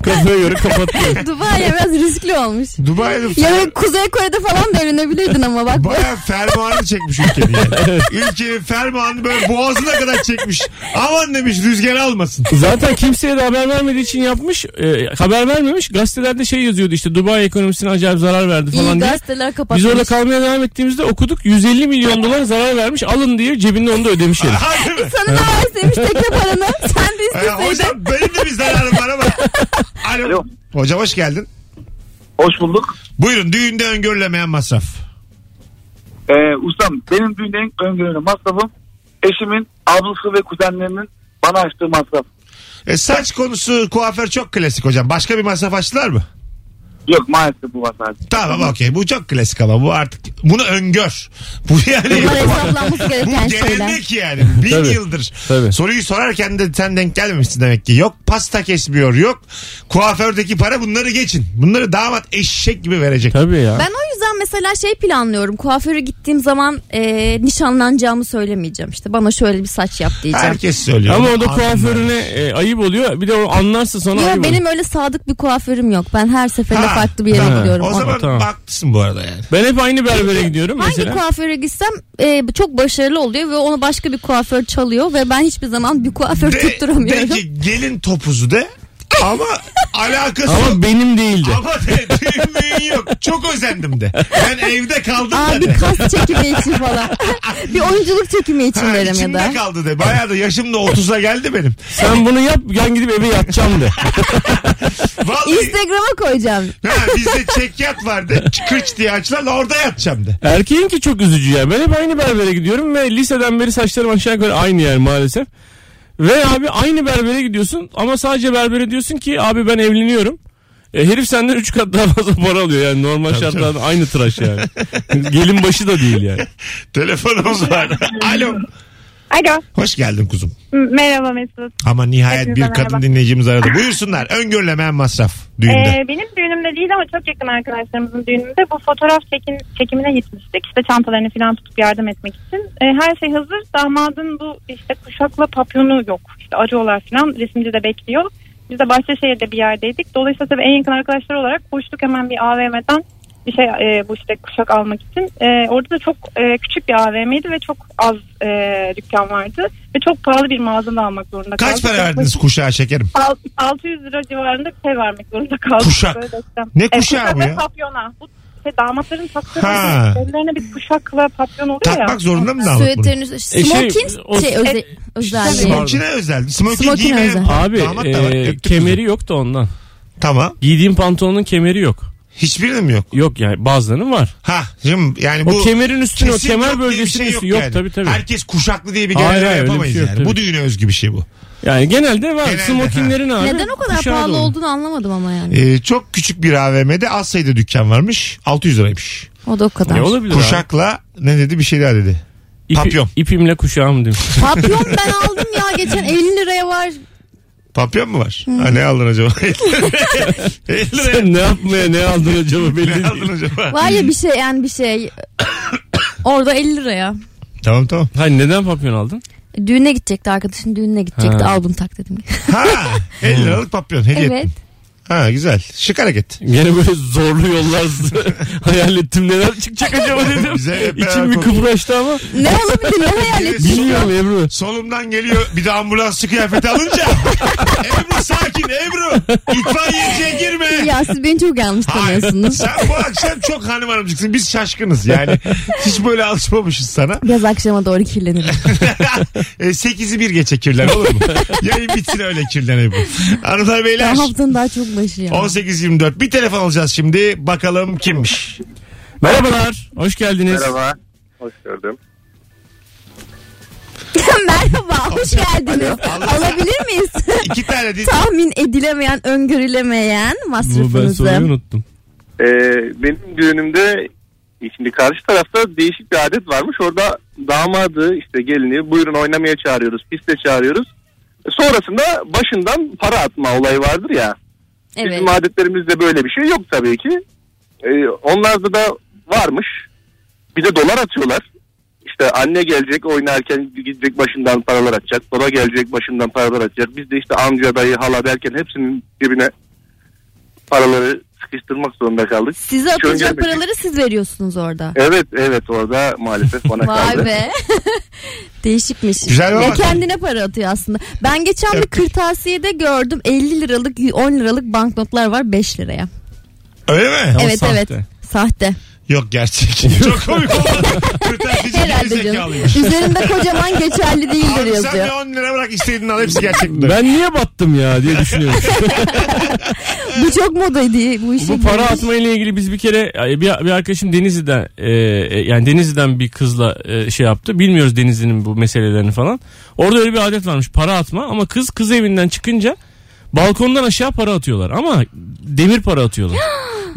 Speaker 4: Kafaya göre kapatıyor.
Speaker 3: Dubai biraz riskli olmuş.
Speaker 2: Dubai'de
Speaker 3: Ya böyle Kuzey Kore'de falan da evlenebilirdin ama bak.
Speaker 2: Baya fermuarını çekmiş ülkenin yani. Ülkenin fermuarını böyle boğazına kadar çekmiş. Aman demiş rüzgar almasın.
Speaker 4: Zaten kimseye de haber vermediği için yapmış. e, haber vermemiş. Gazetelerde şey yazıyordu işte Dubai ekonomisine acayip zarar verdi
Speaker 3: İyi
Speaker 4: falan diye.
Speaker 3: gazeteler kapatmış.
Speaker 4: Biz orada kalmaya devam ettiğimizde okuduk 150 milyon dolar zarar vermiş alın diye cebinde onu da ödemiş herif.
Speaker 2: Hadi mi?
Speaker 3: E, Sana ne verseymiş tekne paranı. Sen de
Speaker 2: Ee,
Speaker 3: isteseydin.
Speaker 4: E,
Speaker 2: hocam benim de bir zararım var ama. Alo.
Speaker 6: Alo.
Speaker 2: Hocam hoş geldin.
Speaker 7: Hoş bulduk.
Speaker 2: Buyurun düğünde öngörülemeyen masraf.
Speaker 7: Ee, ustam benim düğün en öngörülen masrafım eşimin ablası ve kuzenlerinin bana açtığı masraf.
Speaker 2: E, saç konusu kuaför çok klasik hocam. Başka bir masraf açtılar mı?
Speaker 7: Yok maalesef bu masraf.
Speaker 2: Tamam okey bu çok klasik ama bu artık bunu öngör. Bu yani
Speaker 3: Bunlar hesaplanması gereken
Speaker 2: bu
Speaker 3: şeyler.
Speaker 2: gelenek yani bin
Speaker 4: Tabii,
Speaker 2: yıldır.
Speaker 4: tabii.
Speaker 2: Soruyu sorarken de sen denk gelmemişsin demek ki. Yok pasta kesmiyor yok kuafördeki para bunları geçin. Bunları damat eşek gibi verecek.
Speaker 4: Tabii ya.
Speaker 3: Ben o yüzden mesela şey planlıyorum. Kuaföre gittiğim zaman e, nişanlanacağımı söylemeyeceğim. İşte bana şöyle bir saç yap diyeceğim.
Speaker 2: Herkes söylüyor.
Speaker 4: Ama o da
Speaker 2: Anladım
Speaker 4: kuaförüne
Speaker 2: ben.
Speaker 4: e, ayıp oluyor. Bir de o anlarsa sonra
Speaker 3: Yok
Speaker 4: ayıp
Speaker 3: benim
Speaker 4: olur.
Speaker 3: öyle sadık bir kuaförüm yok. Ben her seferinde
Speaker 2: Ha,
Speaker 3: farklı bir yere
Speaker 4: ha.
Speaker 3: gidiyorum.
Speaker 2: O zaman
Speaker 4: tamam.
Speaker 2: haklısın bu arada yani.
Speaker 4: Ben hep aynı berbere gidiyorum
Speaker 3: Hangi
Speaker 4: mesela.
Speaker 3: kuaföre gitsem e, çok başarılı oluyor ve onu başka bir kuaför çalıyor ve ben hiçbir zaman bir kuaför
Speaker 2: De,
Speaker 3: tutturamıyorum.
Speaker 2: de ki gelin topuzu de ama alakası
Speaker 4: Ama benim değildi.
Speaker 2: Ama de, düğün yok. Çok özendim de. Ben evde kaldım
Speaker 3: Aa
Speaker 2: da
Speaker 3: bir
Speaker 2: de.
Speaker 3: kas çekimi için falan. bir oyunculuk çekimi için
Speaker 2: Ha,
Speaker 3: derim ya
Speaker 2: içimde
Speaker 3: da.
Speaker 2: kaldı de. Bayağı da yaşım da 30'a geldi benim.
Speaker 4: Sen bunu yap ben gidip eve yatacağım de.
Speaker 2: Vallahi
Speaker 3: Instagram'a koyacağım.
Speaker 2: ha, bizde çekyat vardı. Kırç diye açılan orada yatacağım de.
Speaker 4: Erkeğin ki çok üzücü ya. Ben hep aynı berbere gidiyorum ve liseden beri saçlarım aşağı yukarı aynı yani maalesef. Ve abi aynı berbere gidiyorsun ama sadece berbere diyorsun ki abi ben evleniyorum. E, herif senden 3 kat daha fazla para alıyor yani normal şartlarda aynı tıraş yani. Gelin başı da değil yani.
Speaker 2: Telefonumuz var. Alo.
Speaker 8: Alo.
Speaker 2: Hoş geldin kuzum.
Speaker 8: M- Merhaba Mesut.
Speaker 2: Ama nihayet bir
Speaker 8: Hepinize
Speaker 2: kadın
Speaker 8: merhaba.
Speaker 2: dinleyicimiz aradı. Buyursunlar. Öngörülemeyen masraf düğünde.
Speaker 8: Ee, benim düğünümde değil ama çok yakın arkadaşlarımızın düğününde bu fotoğraf çekin, çekimine gitmiştik. İşte çantalarını falan tutup yardım etmek için. Ee, her şey hazır. Damadın bu işte kuşakla papyonu yok. İşte arıyorlar falan. Resimci de bekliyor. Biz de Bahçeşehir'de bir yerdeydik. Dolayısıyla tabii en yakın arkadaşlar olarak koştuk hemen bir AVM'den bir şey e, bu işte kuşak almak için. E, orada da çok e, küçük bir AVM'ydi ve çok az e, dükkan vardı. Ve çok pahalı bir mağazadan almak zorunda kaldık.
Speaker 2: Kaç para
Speaker 8: Yaklaşık-
Speaker 2: verdiniz kuşağa şekerim?
Speaker 8: Al- 600 lira civarında bir şey vermek zorunda kaldık.
Speaker 2: Kuşak.
Speaker 8: Böyle desem.
Speaker 2: Ne kuşağı bu
Speaker 8: ve
Speaker 2: ya?
Speaker 8: papyona. Bu şey, damatların taktığı
Speaker 2: Ha.
Speaker 8: ellerine bir kuşakla papyon oluyor ya.
Speaker 2: Takmak zorunda mı damat bunu?
Speaker 3: Süveterin üstü.
Speaker 4: E, şey,
Speaker 3: Smoking
Speaker 4: o-
Speaker 3: şey, özel. özelliği.
Speaker 4: Smok-
Speaker 2: Smokine özel. Smoking
Speaker 3: Smokine
Speaker 2: giymeyen
Speaker 3: özel.
Speaker 4: Abi
Speaker 2: damat da var.
Speaker 4: e,
Speaker 2: Öptük kızım.
Speaker 4: kemeri yok da ondan.
Speaker 2: Tamam.
Speaker 4: Giydiğim pantolonun kemeri yok.
Speaker 2: Hiçbirinin mi yok?
Speaker 4: Yok yani bazılarının var.
Speaker 2: Ha şimdi yani
Speaker 4: O
Speaker 2: bu
Speaker 4: kemerin üstüne o
Speaker 2: kesin yok
Speaker 4: kemer
Speaker 2: diye bir
Speaker 4: bölgesinin
Speaker 2: şey
Speaker 4: üstü yok,
Speaker 2: yani.
Speaker 4: tabii tabii.
Speaker 2: Herkes kuşaklı diye bir
Speaker 4: Hayır,
Speaker 2: genelleme
Speaker 4: hayır, öyle bir
Speaker 2: yapamayız
Speaker 4: şey yok,
Speaker 2: yani.
Speaker 4: tabii.
Speaker 2: Bu düğüne özgü bir şey bu.
Speaker 4: Yani genelde var.
Speaker 2: Genelde,
Speaker 4: Smokinglerin abi.
Speaker 3: Neden o kadar
Speaker 4: kuşağı da
Speaker 3: pahalı
Speaker 4: olur.
Speaker 3: olduğunu anlamadım ama yani.
Speaker 2: Ee, çok küçük bir AVM'de az sayıda dükkan varmış. 600 liraymış.
Speaker 3: o da o kadar.
Speaker 4: Ne olabilir abi?
Speaker 2: Kuşakla ne dedi bir şey daha dedi.
Speaker 4: İpi-
Speaker 2: Papyon.
Speaker 4: İpimle kuşağım demiş.
Speaker 3: Papyon ben aldım ya geçen 50 liraya var.
Speaker 2: Papyon mu var? Ha, ne aldın acaba? 50 liraya
Speaker 4: ne yapmaya ne aldın acaba belli
Speaker 2: ne
Speaker 4: değil.
Speaker 2: aldın acaba?
Speaker 3: Var ya bir şey yani bir şey. Orada 50 liraya.
Speaker 2: Tamam tamam.
Speaker 4: Hayır neden papyon aldın?
Speaker 3: Düğüne gidecekti arkadaşın düğününe gidecekti.
Speaker 4: Ha.
Speaker 3: Al bunu tak dedim.
Speaker 2: Ha 50 liralık papyon hediye
Speaker 3: evet.
Speaker 2: ettim. Ha güzel. Şık hareket.
Speaker 4: Gene böyle zorlu yollar hayal ettim neler çıkacak acaba dedim.
Speaker 2: Bize hep beraber
Speaker 4: İçim bir kıpraştı ama
Speaker 3: Ne olabilir ne hayal ettin?
Speaker 4: bilmiyorum Ebru.
Speaker 2: Solumdan geliyor bir de ambulansçı kıyafeti alınca. Ebru sakin Ebru. İtfaiyeciye girme.
Speaker 3: Ya siz beni çok yanlış
Speaker 2: Hayır.
Speaker 3: tanıyorsunuz.
Speaker 2: Sen bu akşam çok hanım hanımcıksın. Biz şaşkınız yani. Hiç böyle alışmamışız sana.
Speaker 3: Biraz akşama doğru kirlenirim.
Speaker 2: E, 8'i bir geçe kirlen olur mu? Yayın bitsin öyle kirlen Ebru. Hanımlar beyler.
Speaker 3: Ben haftanın daha çok başı ya.
Speaker 2: 18.24 bir telefon alacağız şimdi. Bakalım kimmiş?
Speaker 4: Merhabalar. Hoş geldiniz.
Speaker 7: Merhaba. Hoş gördüm.
Speaker 3: Merhaba hoş geldiniz. Alabilir miyiz?
Speaker 2: İki tane değil.
Speaker 3: Tahmin edilemeyen, öngörülemeyen
Speaker 4: Bu ben soruyu
Speaker 3: masrafınızı.
Speaker 4: unuttum.
Speaker 7: Ee, benim düğünümde şimdi karşı tarafta değişik bir adet varmış. Orada damadı işte gelini buyurun oynamaya çağırıyoruz. Piste çağırıyoruz. Sonrasında başından para atma olayı vardır ya.
Speaker 3: Evet.
Speaker 7: Bizim adetlerimizde böyle bir şey yok tabii ki. Ee, onlarda da varmış. Bize dolar atıyorlar. İşte anne gelecek oynarken gidecek başından paralar atacak. Baba gelecek başından paralar atacak. Biz de işte amca dayı hala derken hepsinin cebine paraları sıkıştırmak zorunda kaldık.
Speaker 3: Size
Speaker 7: Hiç
Speaker 3: atılacak
Speaker 7: öngörmedik.
Speaker 3: paraları siz veriyorsunuz orada.
Speaker 7: Evet evet orada maalesef bana kaldı.
Speaker 3: Vay be. Değişikmiş.
Speaker 2: Güzel
Speaker 3: ya
Speaker 2: baba.
Speaker 3: kendine para atıyor aslında. Ben geçen bir kırtasiyede gördüm 50 liralık 10 liralık banknotlar var 5 liraya.
Speaker 2: Öyle mi?
Speaker 4: Ama
Speaker 3: evet
Speaker 4: sahte.
Speaker 3: evet. Sahte.
Speaker 2: Yok gerçek. Çok komik oldu. Kırtasiyeci
Speaker 3: Herhalde canım.
Speaker 2: gerizekalıymış.
Speaker 3: Üzerinde kocaman geçerli değildir
Speaker 2: Abi sen
Speaker 3: yazıyor.
Speaker 2: de 10 lira bırak istediğini al hepsi gerçek. bunlar.
Speaker 4: Ben niye battım ya diye düşünüyorum.
Speaker 3: Bu çok modaydı bu işin.
Speaker 4: Bu para atma ile ilgili biz bir kere bir, bir arkadaşım Denizli'den e, e, yani Denizli'den bir kızla e, şey yaptı. Bilmiyoruz Denizli'nin bu meselelerini falan. Orada öyle bir adet varmış para atma ama kız kız evinden çıkınca balkondan aşağı para atıyorlar ama demir para atıyorlar.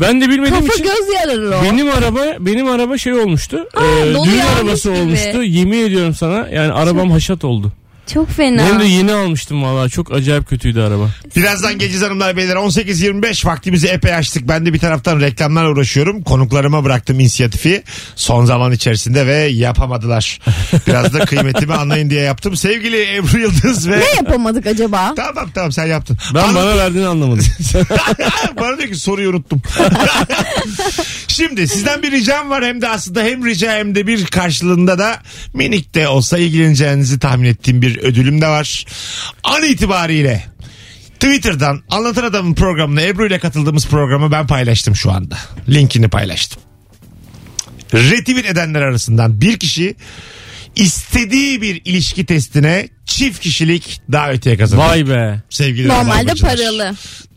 Speaker 4: Ben de bilmediğim
Speaker 3: Kafa
Speaker 4: için
Speaker 3: göz yararı o.
Speaker 4: benim araba benim araba şey olmuştu. e,
Speaker 3: dolu
Speaker 4: düğün
Speaker 3: yağmış
Speaker 4: arabası
Speaker 3: gibi.
Speaker 4: olmuştu. Yemin ediyorum sana yani arabam haşat oldu.
Speaker 3: Çok fena.
Speaker 4: Benim de yeni almıştım valla çok acayip kötüydü araba.
Speaker 2: Birazdan Geciz Hanımlar Beyler 18.25 vaktimizi epey açtık. Ben de bir taraftan reklamlarla uğraşıyorum. Konuklarıma bıraktım inisiyatifi son zaman içerisinde ve yapamadılar. Biraz da kıymetimi anlayın diye yaptım. Sevgili Ebru Yıldız ve...
Speaker 3: Ne yapamadık acaba?
Speaker 2: Tamam tamam sen yaptın.
Speaker 4: Ben
Speaker 2: Hanım-
Speaker 4: bana verdiğini anlamadım.
Speaker 2: Bana diyor ki soruyu unuttum. Şimdi sizden bir ricam var hem de aslında hem rica hem de bir karşılığında da minik de olsa ilgileneceğinizi tahmin ettiğim bir ödülüm de var. An itibariyle Twitter'dan Anlatan Adam'ın programına Ebru ile katıldığımız programı ben paylaştım şu anda. Linkini paylaştım. Retweet edenler arasından bir kişi istediği bir ilişki testine çift kişilik davetiye kazandı.
Speaker 4: Vay be.
Speaker 2: Sevgili
Speaker 3: Normalde
Speaker 2: Rabarbacılar.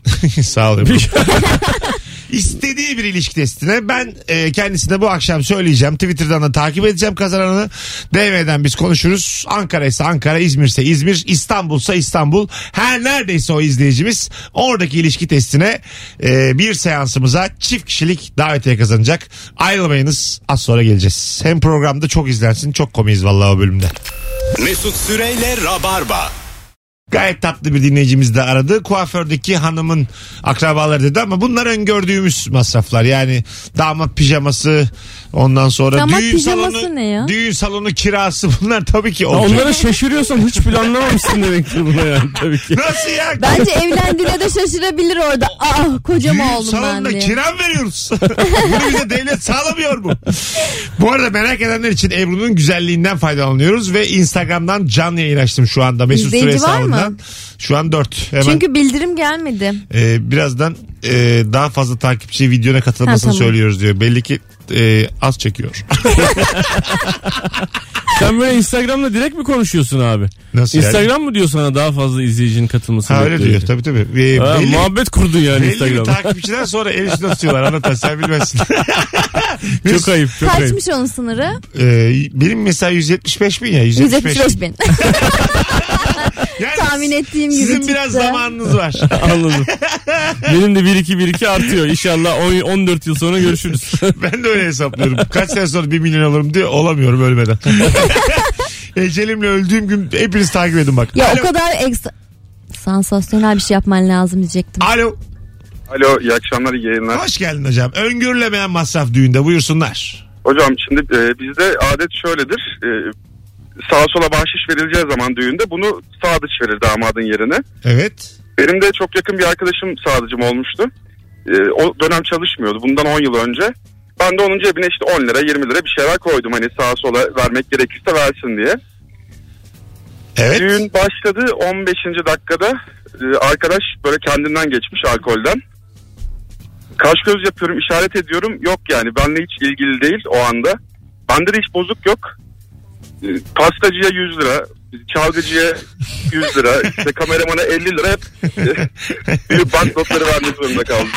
Speaker 3: paralı.
Speaker 2: Sağ olun. İstediği bir ilişki testine ben e, kendisine bu akşam söyleyeceğim. Twitter'dan da takip edeceğim kazananı. DM'den biz konuşuruz. Ankara ise Ankara, İzmir ise İzmir, İstanbul ise İstanbul. Her neredeyse o izleyicimiz oradaki ilişki testine e, bir seansımıza çift kişilik davetiye kazanacak. Ayrılmayınız az sonra geleceğiz. Hem programda çok izlensin çok komiyiz vallahi o bölümde.
Speaker 1: Mesut Süreyle Rabarba.
Speaker 2: Gayet tatlı bir dinleyicimiz de aradı. Kuafördeki hanımın akrabaları dedi ama bunlar öngördüğümüz masraflar. Yani damat pijaması ondan sonra
Speaker 3: Damat
Speaker 2: düğün
Speaker 3: pijaması
Speaker 2: salonu,
Speaker 3: ne ya?
Speaker 2: düğün salonu kirası bunlar tabii ki
Speaker 4: Ya
Speaker 2: olacak.
Speaker 4: Onlara şaşırıyorsan hiç planlamamışsın demektir buna yani tabii ki.
Speaker 2: Nasıl ya?
Speaker 3: Bence evlendiğine de şaşırabilir orada. Ah
Speaker 2: Düğün
Speaker 3: kocama oldum ben
Speaker 2: salonunda
Speaker 3: diye.
Speaker 2: kiram veriyoruz. Bunu bize devlet sağlamıyor mu? Bu arada merak edenler için Ebru'nun güzelliğinden faydalanıyoruz ve Instagram'dan canlı yayın açtım şu anda. Mesut Süre
Speaker 3: İzleyici var mı?
Speaker 2: hesabından. Şu an 4. Hemen
Speaker 3: Çünkü bildirim gelmedi.
Speaker 2: Ee, birazdan e, daha fazla takipçi videona katılmasını
Speaker 3: Ha, tamam.
Speaker 2: söylüyoruz diyor. Belli ki e, az çekiyor.
Speaker 4: Sen böyle Instagram'da direkt mi konuşuyorsun abi?
Speaker 2: Nasıl yani?
Speaker 4: Instagram mı diyor sana daha fazla izleyicinin katılmasını
Speaker 2: Ha öyle
Speaker 4: bekliyor
Speaker 2: diyor
Speaker 4: diye?
Speaker 2: tabii tabii. Ee,
Speaker 4: Ha,
Speaker 2: belli,
Speaker 4: muhabbet kurdun yani
Speaker 2: belli bir
Speaker 4: Instagram'da.
Speaker 2: takipçiden sonra el üstüne tutuyorlar anlatan sen bilmezsin.
Speaker 4: Çok ayıp çok ayıp.
Speaker 3: Kaçmış onun sınırı?
Speaker 2: Ee, benim mesela 175 bin ya 175,
Speaker 3: 175 bin.
Speaker 2: Yani
Speaker 3: Tahmin ettiğim gibi
Speaker 2: Sizin
Speaker 3: çıktı.
Speaker 2: biraz zamanınız var.
Speaker 4: Anladım. Benim de 1-2-1-2 artıyor. İnşallah on- 14 yıl sonra görüşürüz.
Speaker 2: Ben de öyle hesaplıyorum. Kaç sene sonra 1 milyon alırım diye olamıyorum ölmeden. Ecelimle öldüğüm gün hepiniz takip edin bak.
Speaker 3: Ya
Speaker 2: Alo.
Speaker 3: o kadar ekstra... Sansasyonel bir şey yapman lazım diyecektim.
Speaker 2: Alo.
Speaker 7: Alo iyi akşamlar iyi yayınlar.
Speaker 2: Hoş geldin hocam. Öngörülemeyen masraf düğünde buyursunlar.
Speaker 7: Hocam şimdi e, bizde adet şöyledir. E, sağa sola bahşiş verileceği zaman düğünde bunu sağ dış verir damadın yerine.
Speaker 2: Evet.
Speaker 7: Benim de çok yakın bir arkadaşım sağdıcım olmuştu. Ee, o dönem çalışmıyordu. Bundan 10 yıl önce. Ben de onun cebine işte 10 lira 20 lira bir şeyler koydum. Hani sağa sola vermek gerekirse versin diye.
Speaker 2: Evet.
Speaker 7: Düğün başladı 15. dakikada. e, arkadaş böyle kendinden geçmiş alkolden. Kaş göz yapıyorum işaret ediyorum. Yok yani benle hiç ilgili değil o anda. Bende de hiç bozuk yok. E, pastacıya 100 lira. Çalgıcıya 100 lira. işte kameramana 50 lira hep e, büyük banknotları vermek zorunda kaldım.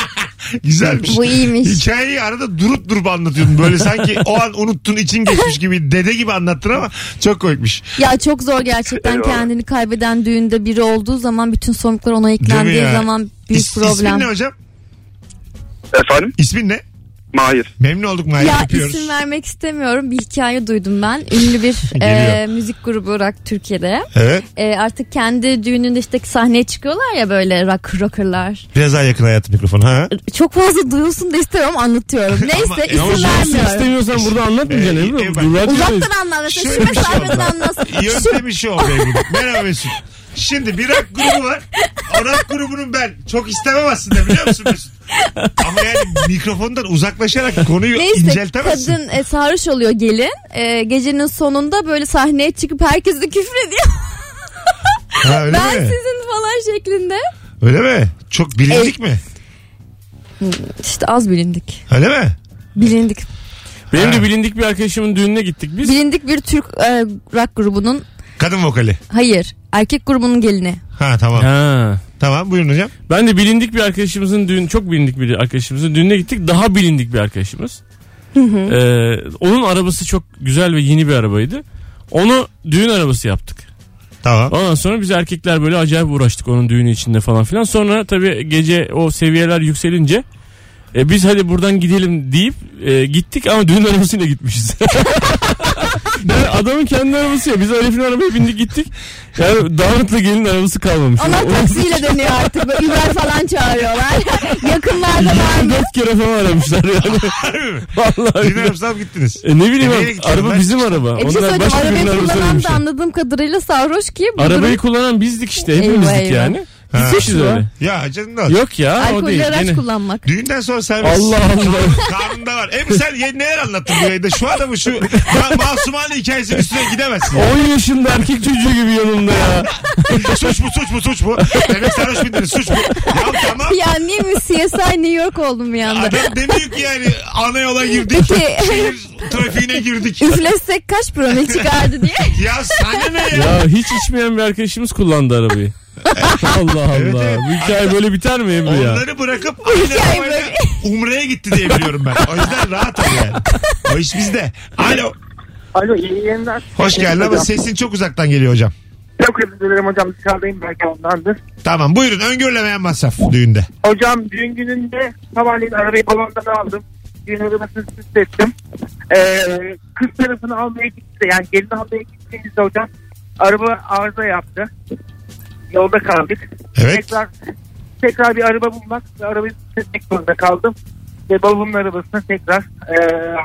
Speaker 2: Güzelmiş.
Speaker 3: Bu iyiymiş.
Speaker 2: Hikayeyi arada durup durup anlatıyordun. Böyle sanki o an unuttun için geçmiş gibi dede gibi anlattın ama çok koymuş.
Speaker 3: Ya çok zor gerçekten
Speaker 7: Eyvallah.
Speaker 3: kendini kaybeden düğünde biri olduğu zaman bütün sorumluluklar ona eklendiği
Speaker 2: ya?
Speaker 3: zaman büyük
Speaker 2: İsmin
Speaker 3: problem.
Speaker 2: ne hocam?
Speaker 7: Efendim?
Speaker 2: İsmin ne?
Speaker 7: Mahir.
Speaker 2: Memnun olduk Mahir.
Speaker 3: Ya
Speaker 2: Öpüyoruz.
Speaker 3: isim vermek istemiyorum. Bir hikaye duydum ben. Ünlü bir
Speaker 2: Geliyor.
Speaker 3: e, müzik grubu rock Türkiye'de.
Speaker 2: Evet.
Speaker 3: E, artık kendi düğününde işte sahneye çıkıyorlar ya böyle rock rockerlar.
Speaker 2: Biraz daha yakın hayatım mikrofonu. Ha?
Speaker 3: Çok fazla duyulsun da istemiyorum anlatıyorum.
Speaker 2: Ama- e, ama
Speaker 3: Neyse
Speaker 4: Ama
Speaker 3: isim
Speaker 4: duymasını
Speaker 3: vermiyorum.
Speaker 4: istemiyorsan burada anlatmayacaksın
Speaker 2: Ee,
Speaker 4: Ebru.
Speaker 2: e, bak.
Speaker 4: Duyurlar diyoruz.
Speaker 3: Uzaktan anlat. Mesela
Speaker 2: Şöyle
Speaker 3: şu
Speaker 2: bir şey
Speaker 3: mesafeden
Speaker 2: oldu.
Speaker 3: anlat.
Speaker 2: Yöntemi şu oldu Ebru'nun. Merhaba Mesut. Şimdi bir rock grubu var. O rock grubunun ben çok istemem aslında biliyor musun Mesut? Ama yani mikrofondan uzaklaşarak konuyu
Speaker 3: Neyse
Speaker 2: inceltemezsin.
Speaker 3: kadın e, sarhoş oluyor gelin. E, gecenin sonunda böyle sahneye çıkıp herkesi küfür ediyor.
Speaker 2: Ha, öyle
Speaker 3: ben
Speaker 2: mi?
Speaker 3: sizin falan şeklinde.
Speaker 2: Öyle mi?
Speaker 3: E-
Speaker 2: Çok bilindik mi?
Speaker 3: İşte az bilindik.
Speaker 2: Öyle mi?
Speaker 3: Bilindik.
Speaker 4: Benim de bilindik bir arkadaşımın düğününe gittik biz.
Speaker 3: Bilindik bir Türk e, rock grubunun
Speaker 2: Kadın vokali.
Speaker 3: hayır erkek grubunun gelini.
Speaker 2: Ha tamam.
Speaker 4: Ha.
Speaker 2: Tamam buyurun hocam.
Speaker 4: Ben de bilindik bir arkadaşımızın düğün çok bilindik bir arkadaşımızın düğününe gittik. Daha bilindik bir arkadaşımız. Ee, onun arabası çok güzel ve yeni bir arabaydı. Onu düğün arabası yaptık.
Speaker 2: Tamam.
Speaker 4: Ondan sonra biz erkekler böyle acayip uğraştık onun düğünü içinde falan filan. Sonra tabii gece o seviyeler yükselince e, biz hadi buradan gidelim deyip e, gittik ama düğün arabasıyla gitmişiz. Yani adamın kendi arabası ya. Biz Arif'in arabaya bindik gittik. Yani damatla gelin arabası kalmamış.
Speaker 3: Onlar taksiyle dönüyor artık. Böyle Uber falan çağırıyorlar. Yakınlarda var mı?
Speaker 4: Dört kere falan aramışlar yani. Vallahi.
Speaker 2: Dinler misin gittiniz?
Speaker 4: E, ne bileyim
Speaker 2: E, nereye
Speaker 4: abi,
Speaker 2: gideceğim
Speaker 4: araba
Speaker 2: ben?
Speaker 4: bizim araba.
Speaker 3: E bir şey
Speaker 4: Onlar
Speaker 3: söyleyeceğim.
Speaker 4: başka birinin
Speaker 3: Arabayı
Speaker 4: arabası
Speaker 3: kullanan da
Speaker 4: aramışlar.
Speaker 3: anladığım kadarıyla sarhoş ki. bu
Speaker 4: Arabayı
Speaker 3: durum-
Speaker 4: kullanan bizdik işte.
Speaker 3: Eyvah,
Speaker 4: Hepimizdik
Speaker 3: eyvah.
Speaker 4: yani.
Speaker 2: Ha.
Speaker 4: Gitmişiz öyle.
Speaker 2: Ya canım da.
Speaker 4: Yok ya o değil.
Speaker 3: Alkollü araç
Speaker 4: Gene-
Speaker 3: kullanmak.
Speaker 2: Düğünden sonra servis.
Speaker 4: Allah Allah.
Speaker 2: Karnında var. Hem sen ye- neler anlattın bu yayında? Şu adamı şu ma- masumane hikayesinin üstüne gidemezsin.
Speaker 4: 10 yaşında erkek çocuğu gibi yanımda ya.
Speaker 2: suç mu suç mu suç mu? Demek sarhoş bindiniz suç mu? Ya tamam.
Speaker 3: Ya niye mi CSI New York oldum bir anda?
Speaker 2: Adam demiyor ki yani ana yola girdik.
Speaker 3: Peki.
Speaker 2: Şehir trafiğine girdik.
Speaker 3: Üflesek kaç promil çıkardı diye.
Speaker 2: ya sana ne ya?
Speaker 4: Ya hiç içmeyen bir arkadaşımız kullandı arabayı. Allah Allah.
Speaker 2: Evet, evet.
Speaker 4: Bu hikaye böyle biter mi Emre ya?
Speaker 2: Onları bırakıp aynı
Speaker 3: hikaye
Speaker 2: arabayla Umre'ye gitti diye biliyorum ben. O yüzden rahat ol yani. O iş bizde. Alo.
Speaker 9: Alo iyi yayınlar.
Speaker 2: Hoş geldin ama
Speaker 9: Hocam,
Speaker 2: sesin çok uzaktan geliyor hocam.
Speaker 9: Çok özür dilerim hocam dışarıdayım belki ondandır.
Speaker 2: Tamam buyurun öngörülemeyen masraf düğünde.
Speaker 9: Hocam düğün gününde sabahleyin arabayı balondan aldım. Düğün arabasını süs ettim. Ee, kız tarafını almaya gitti. Yani gelin almaya gittiğimizde hocam araba arıza yaptı. Yolda kaldık.
Speaker 2: Evet.
Speaker 9: Tekrar, tekrar bir araba bulmak ve arabayı süs etmek zorunda kaldım. Ve babamın arabasını tekrar ee,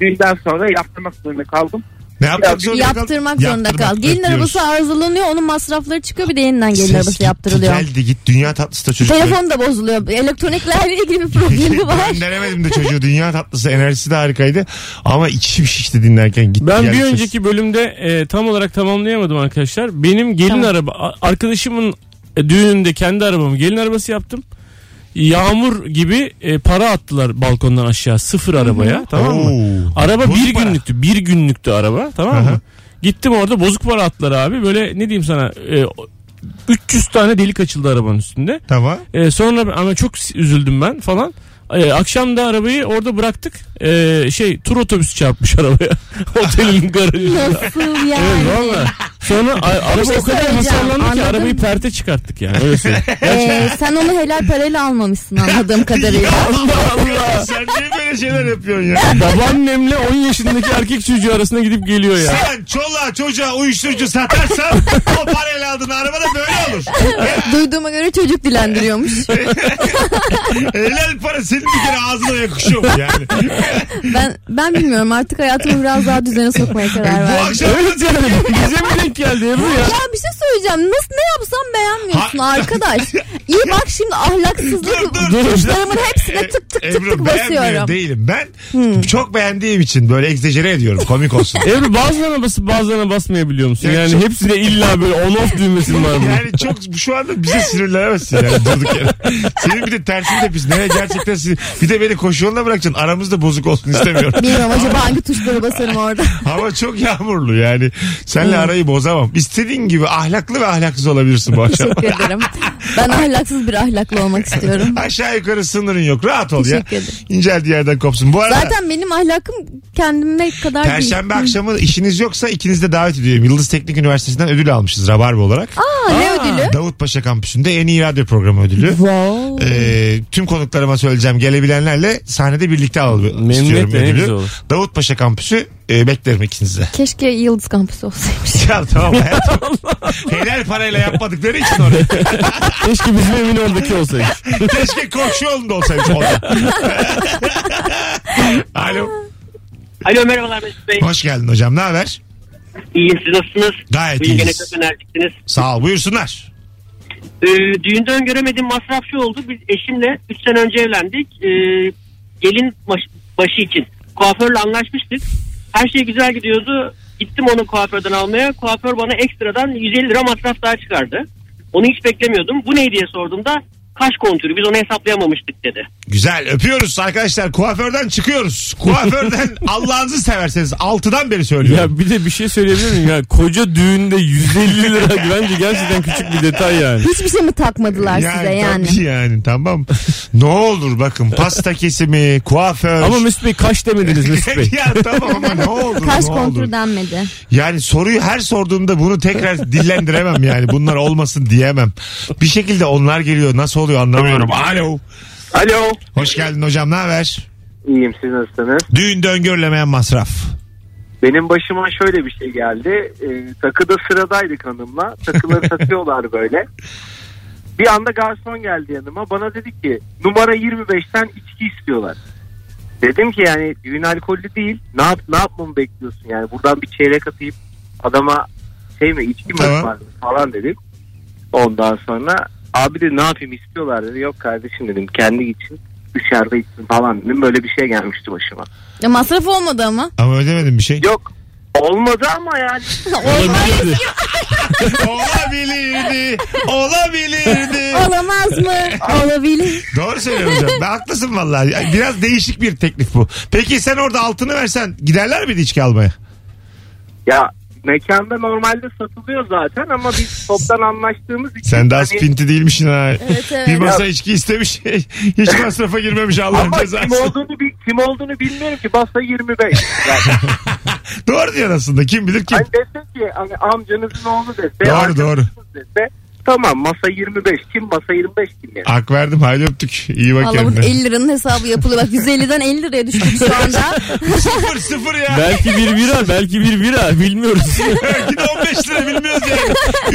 Speaker 9: düğünden sonra yaptırmak zorunda kaldım.
Speaker 2: Ne yapmak zorunda kal-
Speaker 3: Yaptırmak zorunda kal.
Speaker 2: Yaptırmak,
Speaker 3: Gelin
Speaker 2: öpüyoruz.
Speaker 3: arabası arızalanıyor. Onun masrafları çıkıyor. Bir de yeniden gelin
Speaker 2: Ses
Speaker 3: arabası
Speaker 2: gitti,
Speaker 3: yaptırılıyor.
Speaker 2: Geldi git dünya tatlısı da çocuk.
Speaker 3: Telefon da bozuluyor. Elektroniklerle ilgili bir problemi var.
Speaker 2: Gönderemedim de çocuğu dünya tatlısı enerjisi de harikaydı. Ama içim şişti dinlerken gitti.
Speaker 4: Ben
Speaker 2: geldi
Speaker 4: bir
Speaker 2: ses.
Speaker 4: önceki bölümde e, tam olarak tamamlayamadım arkadaşlar. Benim gelin araba a- arkadaşımın e, düğününde kendi arabamı gelin arabası yaptım. Yağmur gibi e, para attılar balkondan aşağı sıfır arabaya tamam mı?
Speaker 2: Oo.
Speaker 4: Araba
Speaker 2: Bozuk
Speaker 4: bir
Speaker 2: para.
Speaker 4: günlüktü. Bir günlüktü araba tamam
Speaker 2: Aha.
Speaker 4: mı? Gittim orada bozuk para attılar abi. Böyle ne diyeyim sana e, 300 tane delik açıldı arabanın üstünde.
Speaker 2: Tamam.
Speaker 4: E, sonra ben- ama çok s- üzüldüm ben falan. E, akşam da arabayı orada bıraktık. E, şey tur otobüsü çarpmış arabaya. Otelin garajında.
Speaker 3: Nasıl
Speaker 4: Evet,
Speaker 3: yani?
Speaker 4: valla. Sonra a- araba
Speaker 3: şey
Speaker 4: o kadar
Speaker 3: söyleyeceğim,
Speaker 4: hasarlandı ki
Speaker 3: anladın
Speaker 4: arabayı
Speaker 3: mı?
Speaker 4: perte çıkarttık yani. Öyle söyleyeyim.
Speaker 3: Ee, sen onu helal parayla almamışsın anladığım kadarıyla.
Speaker 4: Allah Allah.
Speaker 2: Sen niye böyle şeyler yapıyorsun ya?
Speaker 4: Babaannemle 10 yaşındaki erkek çocuğu arasında gidip geliyor ya.
Speaker 2: Sen çoluğa çocuğa uyuşturucu satarsan o parayla aldığın araba da böyle olur.
Speaker 3: Duyduğuma göre çocuk dilendiriyormuş.
Speaker 2: Helal para senin bir kere ağzına yakışıyor mu yani?
Speaker 3: Ben ben bilmiyorum artık hayatımı biraz daha düzene sokmaya karar
Speaker 2: E, Bu
Speaker 3: verdim.
Speaker 2: akşam
Speaker 4: Evet yani bize mi denk geldi Ebru ya?
Speaker 3: Ya bir şey söyleyeceğim. Nasıl ne yapsam beğenmiyorsun
Speaker 2: Ha-
Speaker 3: arkadaş? İyi bak şimdi ahlaksızlık
Speaker 2: Dur, dur.
Speaker 3: duruşlarımın hepsine tık tık tık tık
Speaker 2: Ebru beğenmiyor
Speaker 3: basıyorum. Hmm.
Speaker 2: değilim. Ben çok beğendiğim için böyle egzajere ediyorum komik olsun.
Speaker 4: Ebru bazılarına basıp bazılarına basmayabiliyor musun?
Speaker 2: Yani
Speaker 4: Yani,
Speaker 2: çok-
Speaker 4: hepsine illa böyle on off düğmesi var bunun.
Speaker 2: Yani çok şu anda bize sinirlenemezsin yani durduk yere. Senin bir de tersini de biz nereye gerçekten sinir. Bir de beni koşu yoluna bırakacaksın. Aramızda bozuk olsun istemiyorum.
Speaker 3: Bilmiyorum acaba hangi tuşlara basarım orada.
Speaker 2: Hava çok yağmurlu yani. Senle arayı bozamam. İstediğin gibi ahlaklı ve ahlaksız olabilirsin bu akşam.
Speaker 3: Teşekkür ederim. Ben ahlaksız bir ahlaklı olmak istiyorum.
Speaker 2: Aşağı yukarı sınırın yok. Rahat ol ya.
Speaker 3: Teşekkür ederim.
Speaker 2: İnceldiği yerden kopsun. Bu arada
Speaker 3: Zaten benim ahlakım kendime kadar değil.
Speaker 2: Perşembe akşamı işiniz yoksa ikiniz de davet ediyorum. Yıldız Teknik Üniversitesi'nden ödül almışız Rabarba olarak.
Speaker 3: Aa, ne ödülü?
Speaker 2: Davutpaşa kampüsünde en iyi radyo programı ödülü.
Speaker 3: Wow.
Speaker 2: Ee, tüm konuklarıma söyleyeceğim gelebilenlerle sahnede birlikte alalım istiyorum
Speaker 4: Memnuniyetle, ne güzel
Speaker 2: ödülü.
Speaker 4: olur.
Speaker 2: Davutpaşa kampüsü e, beklerim ikinizi de.
Speaker 3: Keşke Yıldız Kampüsü olsaymış.
Speaker 2: Ya tamam hayatım. Helal parayla yapmadıkları için oraya.
Speaker 4: Keşke bizim evin oradaki olsaydı.
Speaker 2: Keşke komşu yolunda olsaymış orada. Alo.
Speaker 9: Alo merhabalar Mesut Bey.
Speaker 2: Hoş geldin hocam. Ne haber?
Speaker 9: İyiyim siz nasılsınız?
Speaker 2: Gayet
Speaker 9: Bugün gene
Speaker 2: iyiyiz.
Speaker 9: çok enerjiksiniz.
Speaker 2: Sağ ol. Buyursunlar.
Speaker 9: Ee, düğünde öngöremediğim masraf şu oldu. Biz eşimle 3 sene önce evlendik. Ee, gelin baş- başı için kuaförle anlaşmıştık. Her şey güzel gidiyordu. Gittim onu kuaförden almaya. Kuaför bana ekstradan 150 lira masraf daha çıkardı. Onu hiç beklemiyordum. Bu ne diye sorduğumda kaş kontürü biz onu hesaplayamamıştık dedi.
Speaker 2: Güzel öpüyoruz arkadaşlar kuaförden çıkıyoruz. Kuaförden Allah'ınızı severseniz 6'dan beri söylüyorum.
Speaker 4: Ya bir de bir şey söyleyebilir miyim? Ya koca düğünde 150 lira bence gerçekten küçük bir detay yani.
Speaker 3: Hiçbir şey mi takmadılar size yani?
Speaker 2: Tabii yani tamam. ne olur bakın pasta kesimi, kuaför.
Speaker 4: Ama Mesut Bey kaç demediniz Mesut Bey.
Speaker 2: ya tamam ama ne olur
Speaker 3: Kaş
Speaker 2: ne olur.
Speaker 3: kontrol denmedi.
Speaker 2: Yani soruyu her sorduğumda bunu tekrar dillendiremem yani. Bunlar olmasın diyemem. Bir şekilde onlar geliyor. Nasıl oluyor anlamıyorum. Alo.
Speaker 7: Alo.
Speaker 2: Hoş geldin hocam ne haber?
Speaker 7: İyiyim siz nasılsınız?
Speaker 2: Düğünde öngörülemeyen masraf.
Speaker 7: Benim başıma şöyle bir şey geldi. Ee, takıda sıradaydık hanımla. Takıları satıyorlar böyle. Bir anda garson geldi yanıma. Bana dedi ki numara 25'ten içki istiyorlar. Dedim ki yani düğün alkollü değil. Ne, yap, ne yapmamı bekliyorsun yani? Buradan bir çeyrek atayım. Adama şey mi içki mi
Speaker 2: Tamam.
Speaker 7: ısmarlayayım falan dedim. Ondan sonra abi de ne yapayım istiyorlar dedi. Yok kardeşim dedim kendi için dışarıda içsin falan dedim. Böyle bir şey gelmişti başıma.
Speaker 3: Ya masraf olmadı ama.
Speaker 2: Ama ödemedim bir şey.
Speaker 7: Yok olmadı ama yani.
Speaker 4: Olabilirdi.
Speaker 2: olabilirdi. Olabilirdi.
Speaker 3: Olamaz mı? Olabilir.
Speaker 2: Doğru söylüyorsun hocam. Ben haklısın vallahi. Yani Biraz değişik bir teklif bu. Peki sen orada altını versen giderler miydi içki almaya?
Speaker 7: Ya mekanda normalde satılıyor zaten ama biz toptan anlaştığımız için.
Speaker 2: Sen daha
Speaker 7: hani-
Speaker 2: spinti değilmişsin ha.
Speaker 3: Evet, evet.
Speaker 2: Bir masa içki istemiş. Hiç masrafa girmemiş Allah'ın
Speaker 7: ama kim
Speaker 2: cezası.
Speaker 7: olduğunu, bil- kim olduğunu bilmiyorum ki. Basta 25. Yani,
Speaker 2: Doğru diyor aslında. Kim bilir kim.
Speaker 7: hani dese ki hani amcanızın oğlu dese.
Speaker 2: Doğru,
Speaker 7: arkadaşınız
Speaker 2: doğru.
Speaker 7: Dese, tamam masa 25. Kim masa 25 kim yani.
Speaker 2: Hak verdim haydi öptük. İyi bak
Speaker 3: Valla bu
Speaker 2: kendine.
Speaker 3: 50 liranın hesabı yapılıyor. Bak 150'den 50 liraya düştük şu anda.
Speaker 2: sıfır sıfır ya.
Speaker 4: belki bir bira belki bir bira bilmiyoruz.
Speaker 2: Belki de 15 lira bilmiyoruz yani.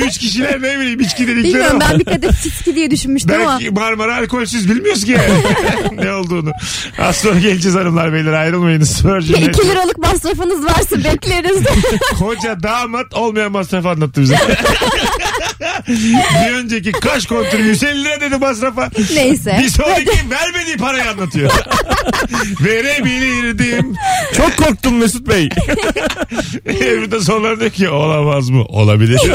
Speaker 2: Üç kişiler ne bileyim içki dedikleri
Speaker 3: Bilmiyorum
Speaker 2: ama.
Speaker 3: ben bir kadeh çiski diye düşünmüştüm ama.
Speaker 2: Belki Marmara alkolsüz bilmiyoruz ki yani. ne olduğunu. Az sonra geleceğiz hanımlar beyler ayrılmayınız. Virgin
Speaker 3: 2
Speaker 2: Radio.
Speaker 3: liralık masrafınız varsa bekleriz.
Speaker 2: Koca damat olmayan masrafı anlattı bize. bir önceki kaş kontrolü 150 lira dedi masrafa.
Speaker 3: Neyse.
Speaker 2: Bir sonraki vermediği parayı anlatıyor. Verebilirdim.
Speaker 4: Çok korktum Mesut Bey.
Speaker 2: Ebru de sonra diyor ki olamaz mı? Olabilir.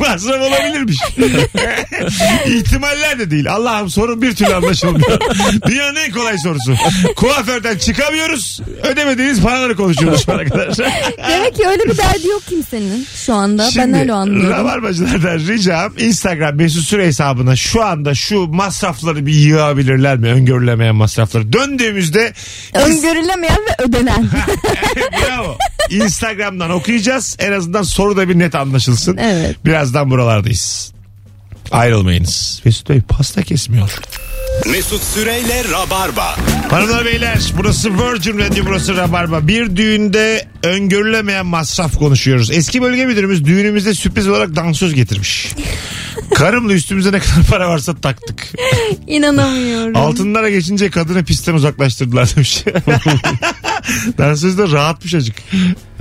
Speaker 2: Masraf olabilirmiş. İhtimaller de değil. Allah'ım sorun bir türlü anlaşılmıyor. Dünyanın en kolay sorusu. Kuaförden çıkamıyoruz. Ödemediğiniz paraları konuşuyoruz şu ana kadar.
Speaker 3: Demek ki öyle bir derdi yok kimsenin şu anda. ben öyle anlıyorum.
Speaker 2: Rabarbacılardan ricam Instagram mesut süre hesabına şu anda şu masrafları bir yığabilirler mi? Öngörülemeyen masrafları. Döndüğümüzde
Speaker 3: Öngörülemeyen ve ödenen.
Speaker 2: Bravo. Instagram'dan okuyacağız. En azından soru da bir net anlaşılsın.
Speaker 3: Evet.
Speaker 2: Birazdan buralardayız. Ayrılmayınız. Mesut Bey pasta kesmiyor.
Speaker 1: Mesut Süreyle Rabarba.
Speaker 2: Hanımlar beyler burası Virgin Radio burası Rabarba. Bir düğünde öngörülemeyen masraf konuşuyoruz. Eski bölge müdürümüz düğünümüzde sürpriz olarak dansöz getirmiş. Karımla üstümüze ne kadar para varsa taktık.
Speaker 3: İnanamıyorum.
Speaker 2: Altınlara geçince kadını pistten uzaklaştırdılar demiş. dansöz de rahatmış acık.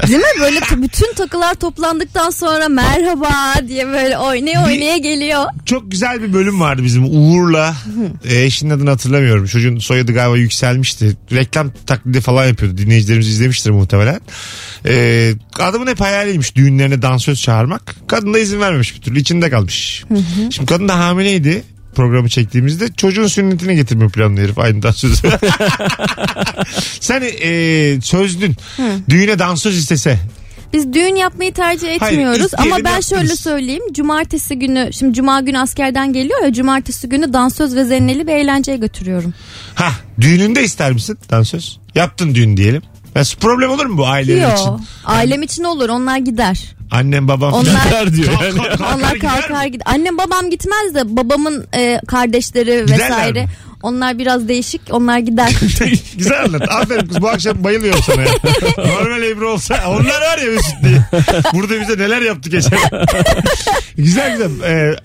Speaker 3: Değil mi? Böyle t- bütün takılar toplandıktan sonra merhaba diye böyle oynaya oynaya geliyor.
Speaker 2: çok güzel bir bölüm vardı bizim Uğur'la. E, eşinin adını hatırlamıyorum. Çocuğun soyadı galiba yükselmişti. Reklam taklidi falan yapıyordu. Dinleyicilerimiz izlemiştir muhtemelen. E, adamın hep hayaliymiş düğünlerine dansöz çağırmak. Kadın da izin vermemiş bir türlü. içinde kalmış. Şimdi kadın da hamileydi programı çektiğimizde çocuğun sünnetine getirme planlı herif aynı dansözü. Sen e, sözdün. Düğüne dansöz istese.
Speaker 3: Biz düğün yapmayı tercih
Speaker 2: Hayır,
Speaker 3: etmiyoruz
Speaker 2: ilk diyelim
Speaker 3: ama ben
Speaker 2: yaptınız.
Speaker 3: şöyle söyleyeyim. Cumartesi günü şimdi cuma günü askerden geliyor ya cumartesi günü dansöz ve zenneli bir eğlenceye götürüyorum.
Speaker 2: Ha düğününde ister misin dansöz? Yaptın düğün diyelim. Ya, problem olur mu bu aileler için?
Speaker 3: Yok. Ailem için olur onlar gider.
Speaker 2: Annem babam
Speaker 3: Onlar-
Speaker 2: filan.
Speaker 4: Der diyor
Speaker 2: Kalk-
Speaker 4: yani.
Speaker 2: kalk- kalkar
Speaker 3: Allah
Speaker 2: gider mi?
Speaker 3: kalkar gider. Annem babam gitmez de babamın e, kardeşleri
Speaker 2: Giderler
Speaker 3: vesaire.
Speaker 2: mi?
Speaker 3: Onlar biraz değişik onlar gider.
Speaker 2: Güzel anlat. Aferin kız bu akşam bayılıyorum sana ya. Normal Ebru olsa onlar var ya Mesut diye. Burada bize neler yaptı geçen. güzel güzel. Ee,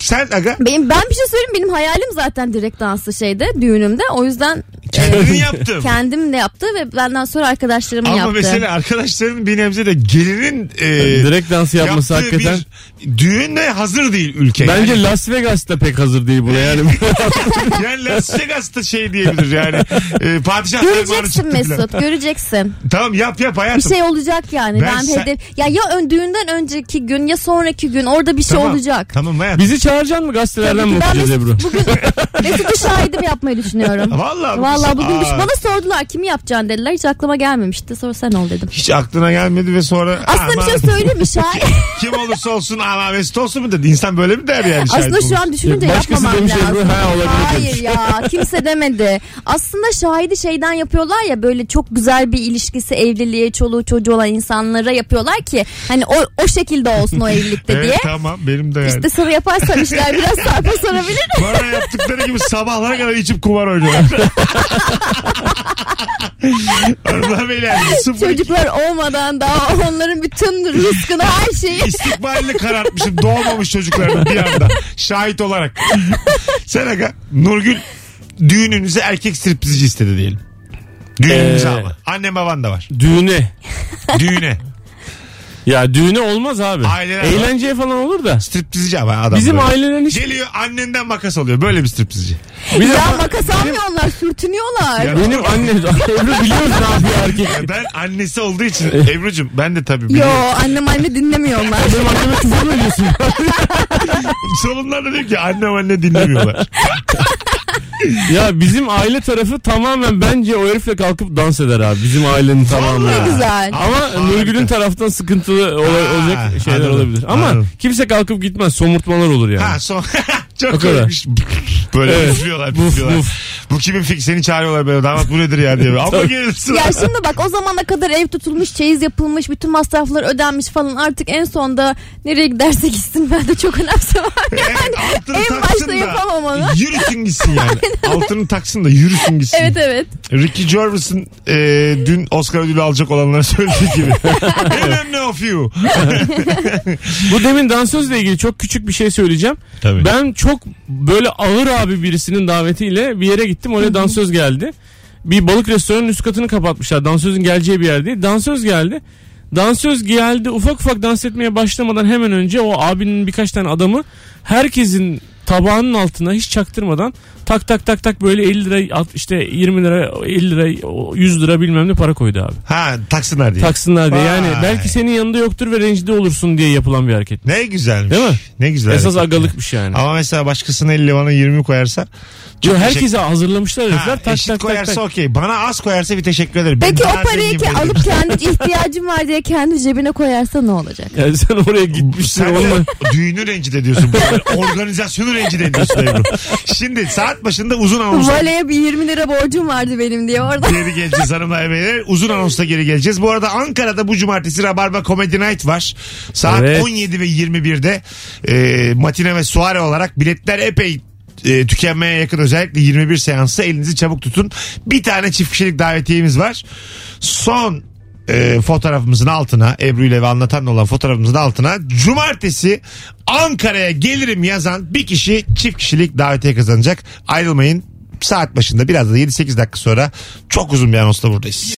Speaker 2: sen aga
Speaker 3: Benim ben bir şey söyleyeyim benim hayalim zaten direkt dansı şeyde düğünümde. O yüzden
Speaker 2: Kendin yaptın.
Speaker 3: Kendim de yaptı ve benden sonra arkadaşlarım
Speaker 2: Ama
Speaker 3: yaptı.
Speaker 2: mesela arkadaşların bir nebze de gelinin e,
Speaker 4: Direkt dansı yapması
Speaker 2: yaptığı
Speaker 4: hakikaten.
Speaker 2: bir şey düğün de hazır değil ülke.
Speaker 4: Bence Las Vegas'ta pek hazır değil buna yani.
Speaker 2: yani, yani Las Vegas'ta şey diyebilir yani. E, padişah fermanı
Speaker 3: Göreceksin
Speaker 2: çıktı filan.
Speaker 3: Mesut göreceksin.
Speaker 2: Tamam yap yap hayatım.
Speaker 3: Bir şey olacak yani.
Speaker 2: Ben
Speaker 3: Ben,
Speaker 2: sen-
Speaker 3: hedef ya ya ön, düğünden önceki gün ya sonraki gün orada bir şey
Speaker 2: Tamam,
Speaker 3: olacak.
Speaker 2: Tamam hayatım.
Speaker 4: Bizi çağıracaksın mı gazetelerden mi
Speaker 3: Ben
Speaker 4: okuyacağız
Speaker 3: Mesut-
Speaker 4: Ebru?
Speaker 3: bugün Mesut'u şahidim yapmayı düşünüyorum.
Speaker 2: Vallahi,
Speaker 3: Vallahi bugün
Speaker 2: Aa,
Speaker 3: düş- bana sordular kimi yapacaksın dediler. Hiç aklıma gelmemişti. Sonra sen ol dedim.
Speaker 2: Hiç aklına gelmedi ve sonra...
Speaker 3: Aslında bir
Speaker 2: aman,
Speaker 3: şey söyleyeyim mi şahit?
Speaker 2: Kim olursa olsun ama Mesut olsun mu dedi. İnsan böyle mi der yani? şahit
Speaker 3: Aslında şu
Speaker 2: olursa?
Speaker 3: an düşününce
Speaker 4: Başkası
Speaker 3: yapmamam
Speaker 4: demiş
Speaker 3: lazım.
Speaker 4: Ebru, ha, olabilir
Speaker 3: Hayır
Speaker 4: demiş.
Speaker 3: ya kimse demedi. Aslında şahidi şeyden yapıyorlar ya böyle çok güzel bir ilişkisi evliliğe çoluğu çocuğu olan insanlara yapıyorlar ki hani o, o şekilde olsun o evlilikte
Speaker 2: Evet
Speaker 3: diye.
Speaker 2: tamam benim de yani.
Speaker 3: İşte sarı yaparsan işler biraz sarpa sarabilir.
Speaker 2: Bana yaptıkları gibi sabahlara kadar içip kumar oynuyorlar. Hanımlar beyler sıfır iki-
Speaker 3: Çocuklar olmadan daha onların bütün rızkını her şeyi.
Speaker 2: istikbalini karartmışım doğmamış çocuklarını bir anda şahit olarak. Sen aga Nurgül düğününüze erkek striptizci istedi diyelim. Düğününüze
Speaker 4: Ee,
Speaker 2: ama. Annem baban da var.
Speaker 4: Düğüne.
Speaker 2: Düğüne.
Speaker 4: Ya düğüne olmaz abi.
Speaker 2: Aileler-
Speaker 4: Eğlenceye falan olur da.
Speaker 2: Striptizci ama adam.
Speaker 4: Bizim
Speaker 2: böyle.
Speaker 4: ailelerin hiç...
Speaker 2: Geliyor annenden makas alıyor. Böyle bir striptizci.
Speaker 4: Bir
Speaker 3: Ya
Speaker 4: defa-
Speaker 3: makas almıyorlar sürtünüyorlar.
Speaker 2: Ya-
Speaker 4: Benim annem... Ebru biliyoruz ne yapıyor erkek.
Speaker 2: Ya ben annesi olduğu için Ebru'cum ben de tabii
Speaker 3: Yo
Speaker 2: biliyorum.
Speaker 3: annem anne dinlemiyorlar.
Speaker 4: Benim anneme küfür mü ediyorsun?
Speaker 2: Sorunlar da diyor ki annem anne dinlemiyorlar.
Speaker 4: ya bizim aile tarafı tamamen bence o herifle kalkıp dans eder abi. Bizim ailenin tamamı.
Speaker 3: Ne güzel.
Speaker 4: Ama Nurgül'ün taraftan sıkıntılı ola-
Speaker 2: Ha,
Speaker 4: olacak şeyler
Speaker 2: anladım,
Speaker 4: olabilir. Ama
Speaker 2: anladım.
Speaker 4: kimse kalkıp gitmez. Somurtmalar olur yani.
Speaker 2: Ha son çok
Speaker 4: O kadar.
Speaker 2: koymuş. Böyle
Speaker 4: Evet.
Speaker 2: üflüyorlar,
Speaker 4: Vuf,
Speaker 2: üflüyorlar.
Speaker 4: vuf.
Speaker 2: Bu kimin fik seni çağırıyorlar böyle damat bu nedir ya diye. Ama gelirsin.
Speaker 3: Ya şimdi bak o zamana kadar ev tutulmuş, çeyiz yapılmış, bütün masraflar ödenmiş falan. Artık en sonda nereye giderse gitsin ben de çok önemsemem.
Speaker 2: Evet, altını
Speaker 3: en
Speaker 2: taksın
Speaker 3: başta
Speaker 2: da
Speaker 3: yapamam onu.
Speaker 2: Yürüsün gitsin yani. altını taksın da yürüsün gitsin.
Speaker 3: Evet evet.
Speaker 2: Ricky Gervais'ın e, dün Oscar ödülü alacak olanlara söylediği gibi. Hemen ne of you.
Speaker 4: Bu demin dansözle ilgili çok küçük bir şey söyleyeceğim.
Speaker 2: Tabii.
Speaker 4: Ben çok böyle ağır abi birisinin davetiyle bir yere gittim. Oraya dansöz geldi. Bir balık restoranının üst katını kapatmışlar. Dansözün geleceği bir yer değil. Dansöz geldi. Dansöz geldi. Ufak ufak dans etmeye başlamadan hemen önce o abinin birkaç tane adamı herkesin tabağının altına hiç çaktırmadan tak tak tak tak böyle 50 lira alt- işte 20 lira 50 lira o 100 lira bilmem ne para koydu abi.
Speaker 2: Ha taksınlar diye.
Speaker 4: Taksınlar diye. Yani
Speaker 2: Vay.
Speaker 4: belki senin yanında yoktur ve rencide olursun diye yapılan bir hareket.
Speaker 2: ne güzelmiş.
Speaker 4: Değil mi?
Speaker 2: Ne güzel.
Speaker 4: Esas
Speaker 2: hareket.
Speaker 4: agalıkmış yani.
Speaker 2: Ama mesela başkasının 50 bana 20 koyarsa
Speaker 4: Yo, herkese hazırlamışlar
Speaker 2: ha,
Speaker 4: herifler. Tak
Speaker 2: eşit
Speaker 4: tak tak
Speaker 2: koyarsa
Speaker 4: tak.
Speaker 2: okey. Bana az koyarsa bir teşekkür ederim.
Speaker 3: Peki
Speaker 2: Ben
Speaker 3: o
Speaker 2: daha
Speaker 3: parayı
Speaker 2: zengin
Speaker 3: ki
Speaker 2: biriyim.
Speaker 3: alıp kendi ihtiyacım var diye kendi cebine koyarsa ne olacak?
Speaker 4: Yani sen oraya gitmişsin.
Speaker 2: Sen de
Speaker 4: olma-
Speaker 2: düğünü rencide ediyorsun. bu arada. Organizasyonu rencide ediyorsun Ebru. Şimdi saat başında uzun anons.
Speaker 3: Valeye bir 20 lira borcum vardı benim diye orada.
Speaker 2: Geri geleceğiz hanımlar beyler. Uzun anonsta geri geleceğiz. Bu arada Ankara'da bu cumartesi Rabarba Comedy Night var. Saat
Speaker 4: Evet.
Speaker 2: 17 ve 21'de e, matine ve suare olarak biletler epey e, tükenmeye yakın özellikle 21 seansı elinizi çabuk tutun. Bir tane çift kişilik davetiyemiz var. Son e, fotoğrafımızın altına Ebru ile ve anlatan olan fotoğrafımızın altına cumartesi Ankara'ya gelirim yazan bir kişi çift kişilik davetiye kazanacak. Ayrılmayın saat başında biraz da 7-8 dakika sonra çok uzun bir anonsla buradayız.